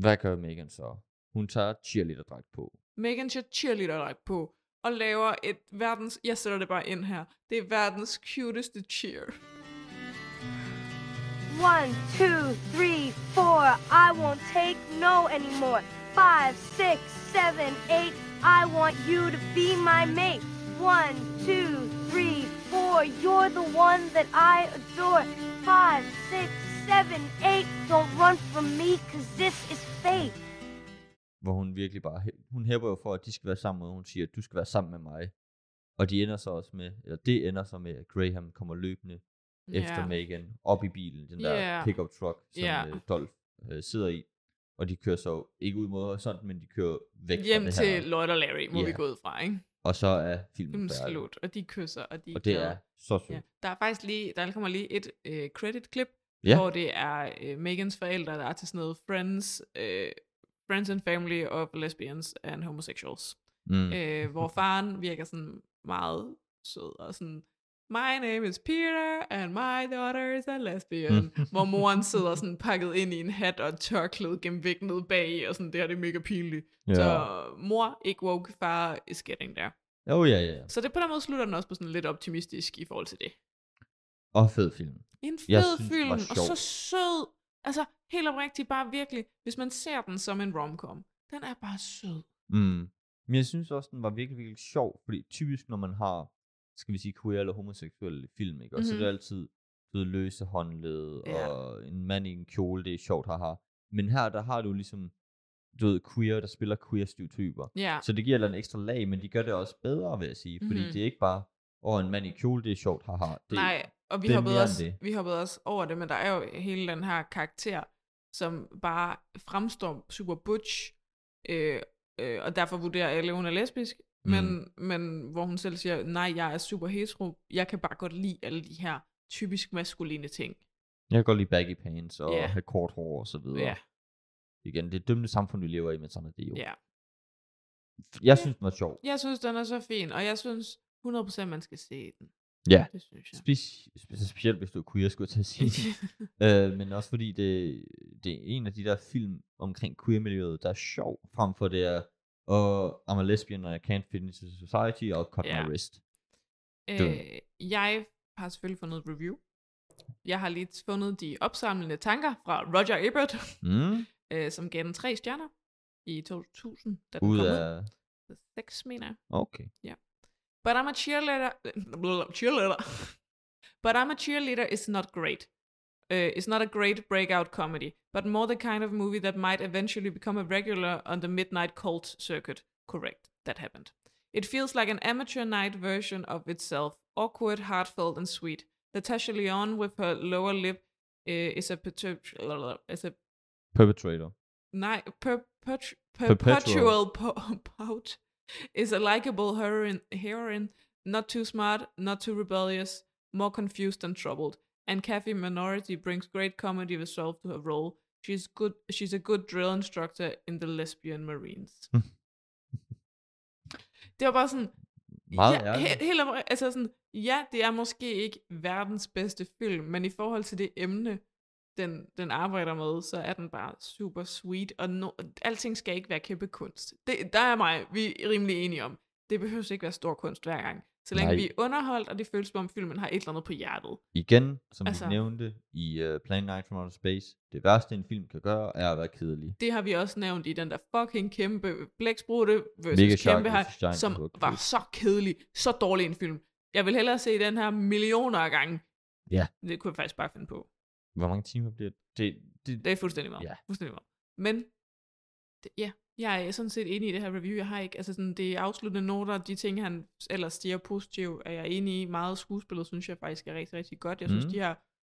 [SPEAKER 6] Hvad gør Megan så? Hun tager cheerleader-dragt på.
[SPEAKER 2] Megan tager cheerleader på og laver et verdens, jeg sætter det bare ind her, det er verdens cuteste cheer.
[SPEAKER 7] One, two, three, four. I won't take no anymore. Five, six, seven, eight. I want you to be my mate. One, two, three, four. You're the one that I adore. Five, six, seven, eight. Don't run from me, cause this is fate.
[SPEAKER 6] Hvor hun virkelig bare... Hun hæpper jo for, at de skal være sammen med Hun siger, at du skal være sammen med mig. Og de ender så også med... Eller det ender så med, at Graham kommer løbende efter Megan op i bilen. Den der
[SPEAKER 2] Ja.
[SPEAKER 6] pickup truck, som
[SPEAKER 2] Ja.
[SPEAKER 6] yeah. Dolph øh, sidder i. Og de kører så ikke ud mod horisonten, men de kører væk
[SPEAKER 2] Hjem
[SPEAKER 6] fra det
[SPEAKER 2] til
[SPEAKER 6] her.
[SPEAKER 2] Lloyd og Larry, må
[SPEAKER 6] Ja.
[SPEAKER 2] vi gå ud fra, ikke?
[SPEAKER 6] Og så er filmen
[SPEAKER 2] Dem
[SPEAKER 6] færdig.
[SPEAKER 2] slut, og de kysser, og de er
[SPEAKER 6] Og det
[SPEAKER 2] glade.
[SPEAKER 6] er så sødt.
[SPEAKER 2] Ja.
[SPEAKER 6] Yeah.
[SPEAKER 2] Der er faktisk lige, der kommer lige et øh, credit-klip,
[SPEAKER 6] Ja.
[SPEAKER 2] hvor det er øh, Megans forældre, der er til sådan noget Friends, øh, Friends and Family of Lesbians and Homosexuals.
[SPEAKER 6] Mm.
[SPEAKER 2] Mm. Øh, hvor faren virker sådan meget sød og sådan, My name is Peter, and my daughter is a lesbian. Mm. Hvor moren sidder sådan pakket ind i en hat og et tørklæde gennem væk ned bag, og sådan, det her det er mega pinligt.
[SPEAKER 6] Ja.
[SPEAKER 2] Så mor, ikke woke, far is getting there.
[SPEAKER 6] Jo, ja, ja.
[SPEAKER 2] Så det på den måde slutter den også på sådan lidt optimistisk i forhold til det.
[SPEAKER 6] Og fed film.
[SPEAKER 2] En
[SPEAKER 6] Jeg
[SPEAKER 2] fed
[SPEAKER 6] synes, det
[SPEAKER 2] film,
[SPEAKER 6] var
[SPEAKER 2] og så
[SPEAKER 6] sjovt.
[SPEAKER 2] sød. Altså, helt oprigtigt, bare virkelig, hvis man ser den som en romcom, den er bare sød.
[SPEAKER 6] Mm. Men jeg synes også, den var virkelig, virkelig sjov, fordi typisk, når man har, skal vi sige, queer eller homoseksuelle film, ikke? Og mm-hmm. så er
[SPEAKER 2] Mhm.
[SPEAKER 6] det altid du ved, løse håndled,
[SPEAKER 2] Ja.
[SPEAKER 6] ja. og en mand i en kjole, det er sjovt, haha. Men her, der har du ligesom, du ved, queer, der spiller queer stereotyper.
[SPEAKER 2] Ja,
[SPEAKER 6] Så det giver en ekstra lag, men de gør det også bedre, vil jeg sige. Fordi
[SPEAKER 2] Mhm.
[SPEAKER 6] mm-hmm. det er ikke bare, åh, en mand i kjole, det er sjovt, haha. Det,
[SPEAKER 2] nej, og vi
[SPEAKER 6] det er mere
[SPEAKER 2] hoppede,
[SPEAKER 6] end
[SPEAKER 2] også,
[SPEAKER 6] det.
[SPEAKER 2] vi hoppede også over det, men der er jo hele den her karakter, som bare fremstår super butch, øh, øh, og derfor vurderer alle, at hun er lesbisk,
[SPEAKER 6] Mm.
[SPEAKER 2] men, men hvor hun selv siger, nej, jeg er super hetero, jeg kan bare godt lide alle de her typisk maskuline ting.
[SPEAKER 6] Jeg kan godt lide baggy pants og
[SPEAKER 2] Ja.
[SPEAKER 6] yeah. have kort hår og så videre.
[SPEAKER 2] Ja.
[SPEAKER 6] Igen, det er et dømmende samfund, vi lever i, men sådan er det jo.
[SPEAKER 2] Ja.
[SPEAKER 6] Jeg synes, den var sjov.
[SPEAKER 2] Jeg synes, den er så fin, og jeg synes 100% man skal se den.
[SPEAKER 6] Ja.
[SPEAKER 2] Det synes jeg.
[SPEAKER 6] Speci- spe- specielt hvis du er queer, skulle jeg til at sige. øh, men også fordi det, det er en af de der film omkring queer-miljøet, der er sjov, frem for det er, og I'm a lesbian, and I can't fit into society, og cut
[SPEAKER 2] Ja.
[SPEAKER 6] my wrist.
[SPEAKER 2] øh, jeg har selvfølgelig fundet et review. Jeg har lige fundet de opsamlende tanker fra Roger Ebert,
[SPEAKER 6] Mm.
[SPEAKER 2] øh, som gav den tre stjerner i 2000, da den
[SPEAKER 6] Ud
[SPEAKER 2] kom ud.
[SPEAKER 6] af...
[SPEAKER 2] Seks, mener jeg.
[SPEAKER 6] Okay.
[SPEAKER 2] But I'm a cheerleader. cheerleader. but I'm a cheerleader is not great. Uh, it's not a great breakout comedy, but more the kind of movie that might eventually become a regular on the midnight cult circuit. Correct, that happened. It feels like an amateur night version of itself, awkward, heartfelt, and sweet. Natasha Leon with her lower lip uh, is a perpetual, is a
[SPEAKER 6] Perpetrator.
[SPEAKER 2] ni- per- per- perpetual
[SPEAKER 6] Perpetual.
[SPEAKER 2] po- pout is a likable heroine, heroine, not too smart, not too rebellious, more confused than troubled. And Kathy Minority brings great comedy resolve to her role. She's good. She's a good drill instructor in the lesbian marines. det var bare sådan,
[SPEAKER 6] Meget
[SPEAKER 2] ja,
[SPEAKER 6] ærligt.
[SPEAKER 2] he- helt om, altså sådan, ja, det er måske ikke verdens bedste film, men i forhold til det emne, den, den arbejder med, så er den bare super sweet, og no, alting skal ikke være kæmpe kunst. Det, der er mig, vi er rimelig enige om. Det behøver ikke være stor kunst hver gang. Så længe
[SPEAKER 6] Nej.
[SPEAKER 2] vi er underholdt, og det føles som om filmen har et eller andet på hjertet.
[SPEAKER 6] Igen, som altså,
[SPEAKER 2] Altså-
[SPEAKER 6] vi nævnte i uh, Planet Night from Outer Space, det værste en film kan gøre, er at være kedelig.
[SPEAKER 2] Det har vi også nævnt i den der fucking kæmpe blæksprutte versus
[SPEAKER 6] Mega Shark
[SPEAKER 2] kæmpe
[SPEAKER 6] versus
[SPEAKER 2] her,
[SPEAKER 6] Giant
[SPEAKER 2] som
[SPEAKER 6] Hook.
[SPEAKER 2] var så kedelig, så dårlig en film. Jeg vil hellere se den her millioner af gange.
[SPEAKER 6] Ja.
[SPEAKER 2] Det kunne jeg faktisk bare finde på.
[SPEAKER 6] Hvor mange timer bliver det? Det, det,
[SPEAKER 2] Det er fuldstændig meget.
[SPEAKER 6] Ja.
[SPEAKER 2] Fuldstændig meget. Men, det, ja, jeg er sådan set enig i det her review, jeg har ikke. Altså sådan, det er afsluttende noter, de ting, han ellers siger positivt, er jeg enig i. Meget af skuespillet, synes jeg faktisk er rigtig, rigtig godt. Jeg synes,
[SPEAKER 6] Mm.
[SPEAKER 2] de her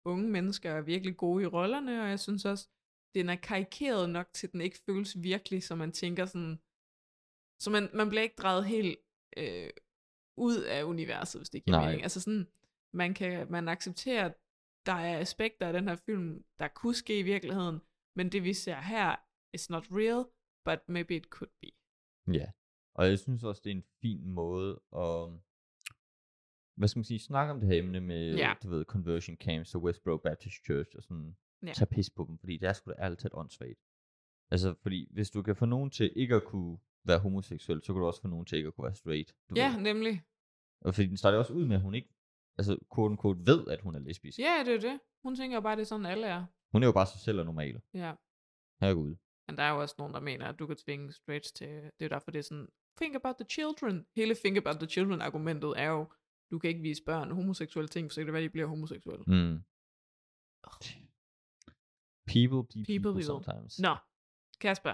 [SPEAKER 2] unge mennesker er virkelig gode i rollerne, og jeg synes også, den er karikeret nok til, at den ikke føles virkelig, så man tænker sådan, så man, man bliver ikke drejet helt øh, ud af universet, hvis det giver
[SPEAKER 6] Nej.
[SPEAKER 2] mening. Altså sådan, man kan man accepterer, at der er aspekter af den her film, der kunne ske i virkeligheden, men det vi ser her, is not real, but maybe it could be.
[SPEAKER 6] Ja, og jeg synes også, det er en fin måde at, hvad skal man sige, snakke om det her emne med,
[SPEAKER 2] Ja.
[SPEAKER 6] ja. du ved, conversion camps og Westboro Baptist Church og sådan,
[SPEAKER 2] Ja.
[SPEAKER 6] ja. tage pis på dem, fordi det er sgu da ærligt talt åndssvagt. Altså, fordi hvis du kan få nogen til ikke at kunne være homoseksuel, så kan du også få nogen til ikke at kunne være straight. Du
[SPEAKER 2] Ja,
[SPEAKER 6] Ved.
[SPEAKER 2] nemlig.
[SPEAKER 6] Og fordi den starter også ud med, at hun ikke, altså, quote unquote, ved, at hun er lesbisk.
[SPEAKER 2] Ja, det er det. Hun tænker jo bare, det er sådan, alle er.
[SPEAKER 6] Hun er jo bare sig selv og normal.
[SPEAKER 2] Ja.
[SPEAKER 6] Herregud.
[SPEAKER 2] Men der er jo også nogen, der mener, at du kan tvinge straights til... Det er jo derfor, det er sådan, think about the children. Hele think about the children-argumentet er jo, du kan ikke vise børn homoseksuelle ting, for så kan det være, de bliver homoseksuelle. Mm.
[SPEAKER 6] Mm. People be people,
[SPEAKER 2] People
[SPEAKER 6] people
[SPEAKER 2] be people.
[SPEAKER 6] sometimes.
[SPEAKER 2] Nå, Kasper.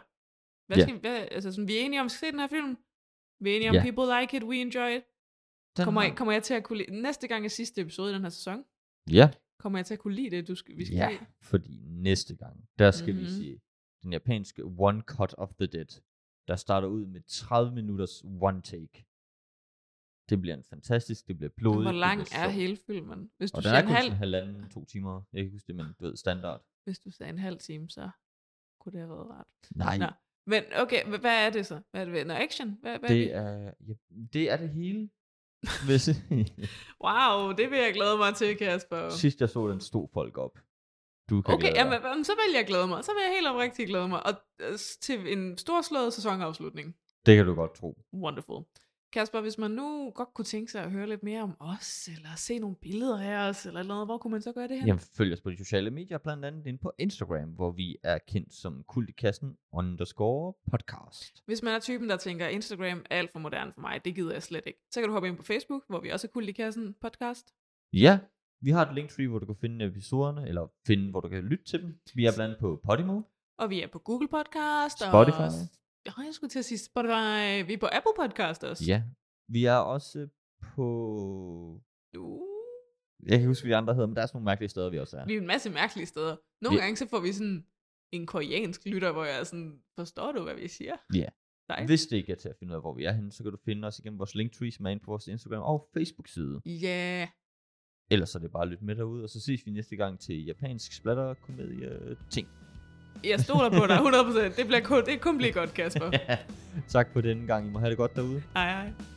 [SPEAKER 2] Hvad
[SPEAKER 6] Ja.
[SPEAKER 2] skal, hvad, altså sådan, vi er enige om, at se den her film. Vi er enige om,
[SPEAKER 6] Ja.
[SPEAKER 2] people like it, we enjoy it.
[SPEAKER 6] Den
[SPEAKER 2] Kommer,
[SPEAKER 6] har-
[SPEAKER 2] jeg, kommer jeg til at kunne lide, næste gang er sidste episode i den her sæson,
[SPEAKER 6] Ja.
[SPEAKER 2] kommer jeg til at kunne lide det, du skal, vi skal
[SPEAKER 6] ja,
[SPEAKER 2] se?
[SPEAKER 6] fordi næste gang, der skal mm-hmm.
[SPEAKER 2] Mhm.
[SPEAKER 6] vi sige, den japanske One Cut of the Dead, der starter ud med 30 minutters one take. Det bliver en fantastisk, det bliver blodigt.
[SPEAKER 2] Hvor
[SPEAKER 6] det
[SPEAKER 2] lang
[SPEAKER 6] bliver
[SPEAKER 2] er
[SPEAKER 6] sjovt.
[SPEAKER 2] hele filmen? Hvis du,
[SPEAKER 6] Og den
[SPEAKER 2] siger
[SPEAKER 6] er
[SPEAKER 2] en
[SPEAKER 6] kun
[SPEAKER 2] halv,
[SPEAKER 6] sådan halvanden, to timer. Jeg kan ikke huske det, men du ved, standard.
[SPEAKER 2] hvis du sagde en halv time, så kunne det have været rart.
[SPEAKER 6] Nej,
[SPEAKER 2] Nå. Men okay, h- hvad er det så? Hvad er det? Nå, action? Hvad, hvad
[SPEAKER 6] det
[SPEAKER 2] er det?
[SPEAKER 6] er, ja, det er det hele. Hvis,
[SPEAKER 2] Wow, det vil jeg glæde mig til, Kasper.
[SPEAKER 6] sidst jeg så den, stod folk op. Du kan
[SPEAKER 2] Okay,
[SPEAKER 6] glæde dig.
[SPEAKER 2] jamen, jamen, så vil jeg glæde mig. Så vil jeg helt oprigtigt glæde mig. Og øh, s- til en storslået sæsonafslutning.
[SPEAKER 6] Det kan du godt tro.
[SPEAKER 2] Wonderful. Kasper, hvis man nu godt kunne tænke sig at høre lidt mere om os, eller se nogle billeder af os, eller et eller andet, hvor kunne man så gøre det her?
[SPEAKER 6] Jamen, følg os på de sociale medier, blandt andet inde på Instagram, hvor vi er kendt som Kultikassen underscore podcast.
[SPEAKER 2] Hvis man er typen, der tænker, Instagram er alt for moderne for mig, det gider jeg slet ikke, så kan du hoppe ind på Facebook, hvor vi også er Kult i Kassen podcast.
[SPEAKER 6] Ja, vi har et linktree, hvor du kan finde episoderne, eller finde, hvor du kan lytte til dem. Vi er blandt andet på Podimo.
[SPEAKER 2] Og vi er på Google Podcast.
[SPEAKER 6] Spotify.
[SPEAKER 2] Og... Ja, jeg skulle til at sige Spotify. Vi er på Apple Podcast også.
[SPEAKER 6] Ja. Vi er også på...
[SPEAKER 2] Du...
[SPEAKER 6] Jeg kan huske, hvad de andre hedder, men der er sådan nogle mærkelige steder, vi også er.
[SPEAKER 2] Uh, Vi er en masse mærkelige steder. Nogle
[SPEAKER 6] Vi-
[SPEAKER 2] gange så får vi sådan en koreansk lytter, hvor jeg er sådan, forstår du, hvad vi siger?
[SPEAKER 6] Ja.
[SPEAKER 2] Nej.
[SPEAKER 6] Hvis det ikke er til at finde ud af, hvor vi er henne, så kan du finde os igennem vores linktree, som er inde på vores Instagram og Facebook-side.
[SPEAKER 2] Ja.
[SPEAKER 6] Ellers så er det bare at lytte med derude, og så ses vi næste gang til japansk splatter komedie ting
[SPEAKER 2] Jeg stoler på dig 100%. Det, bliver kun, det kun bliver godt, Kasper.
[SPEAKER 6] tak for denne gang. I må have det godt derude.
[SPEAKER 2] Hej, hej.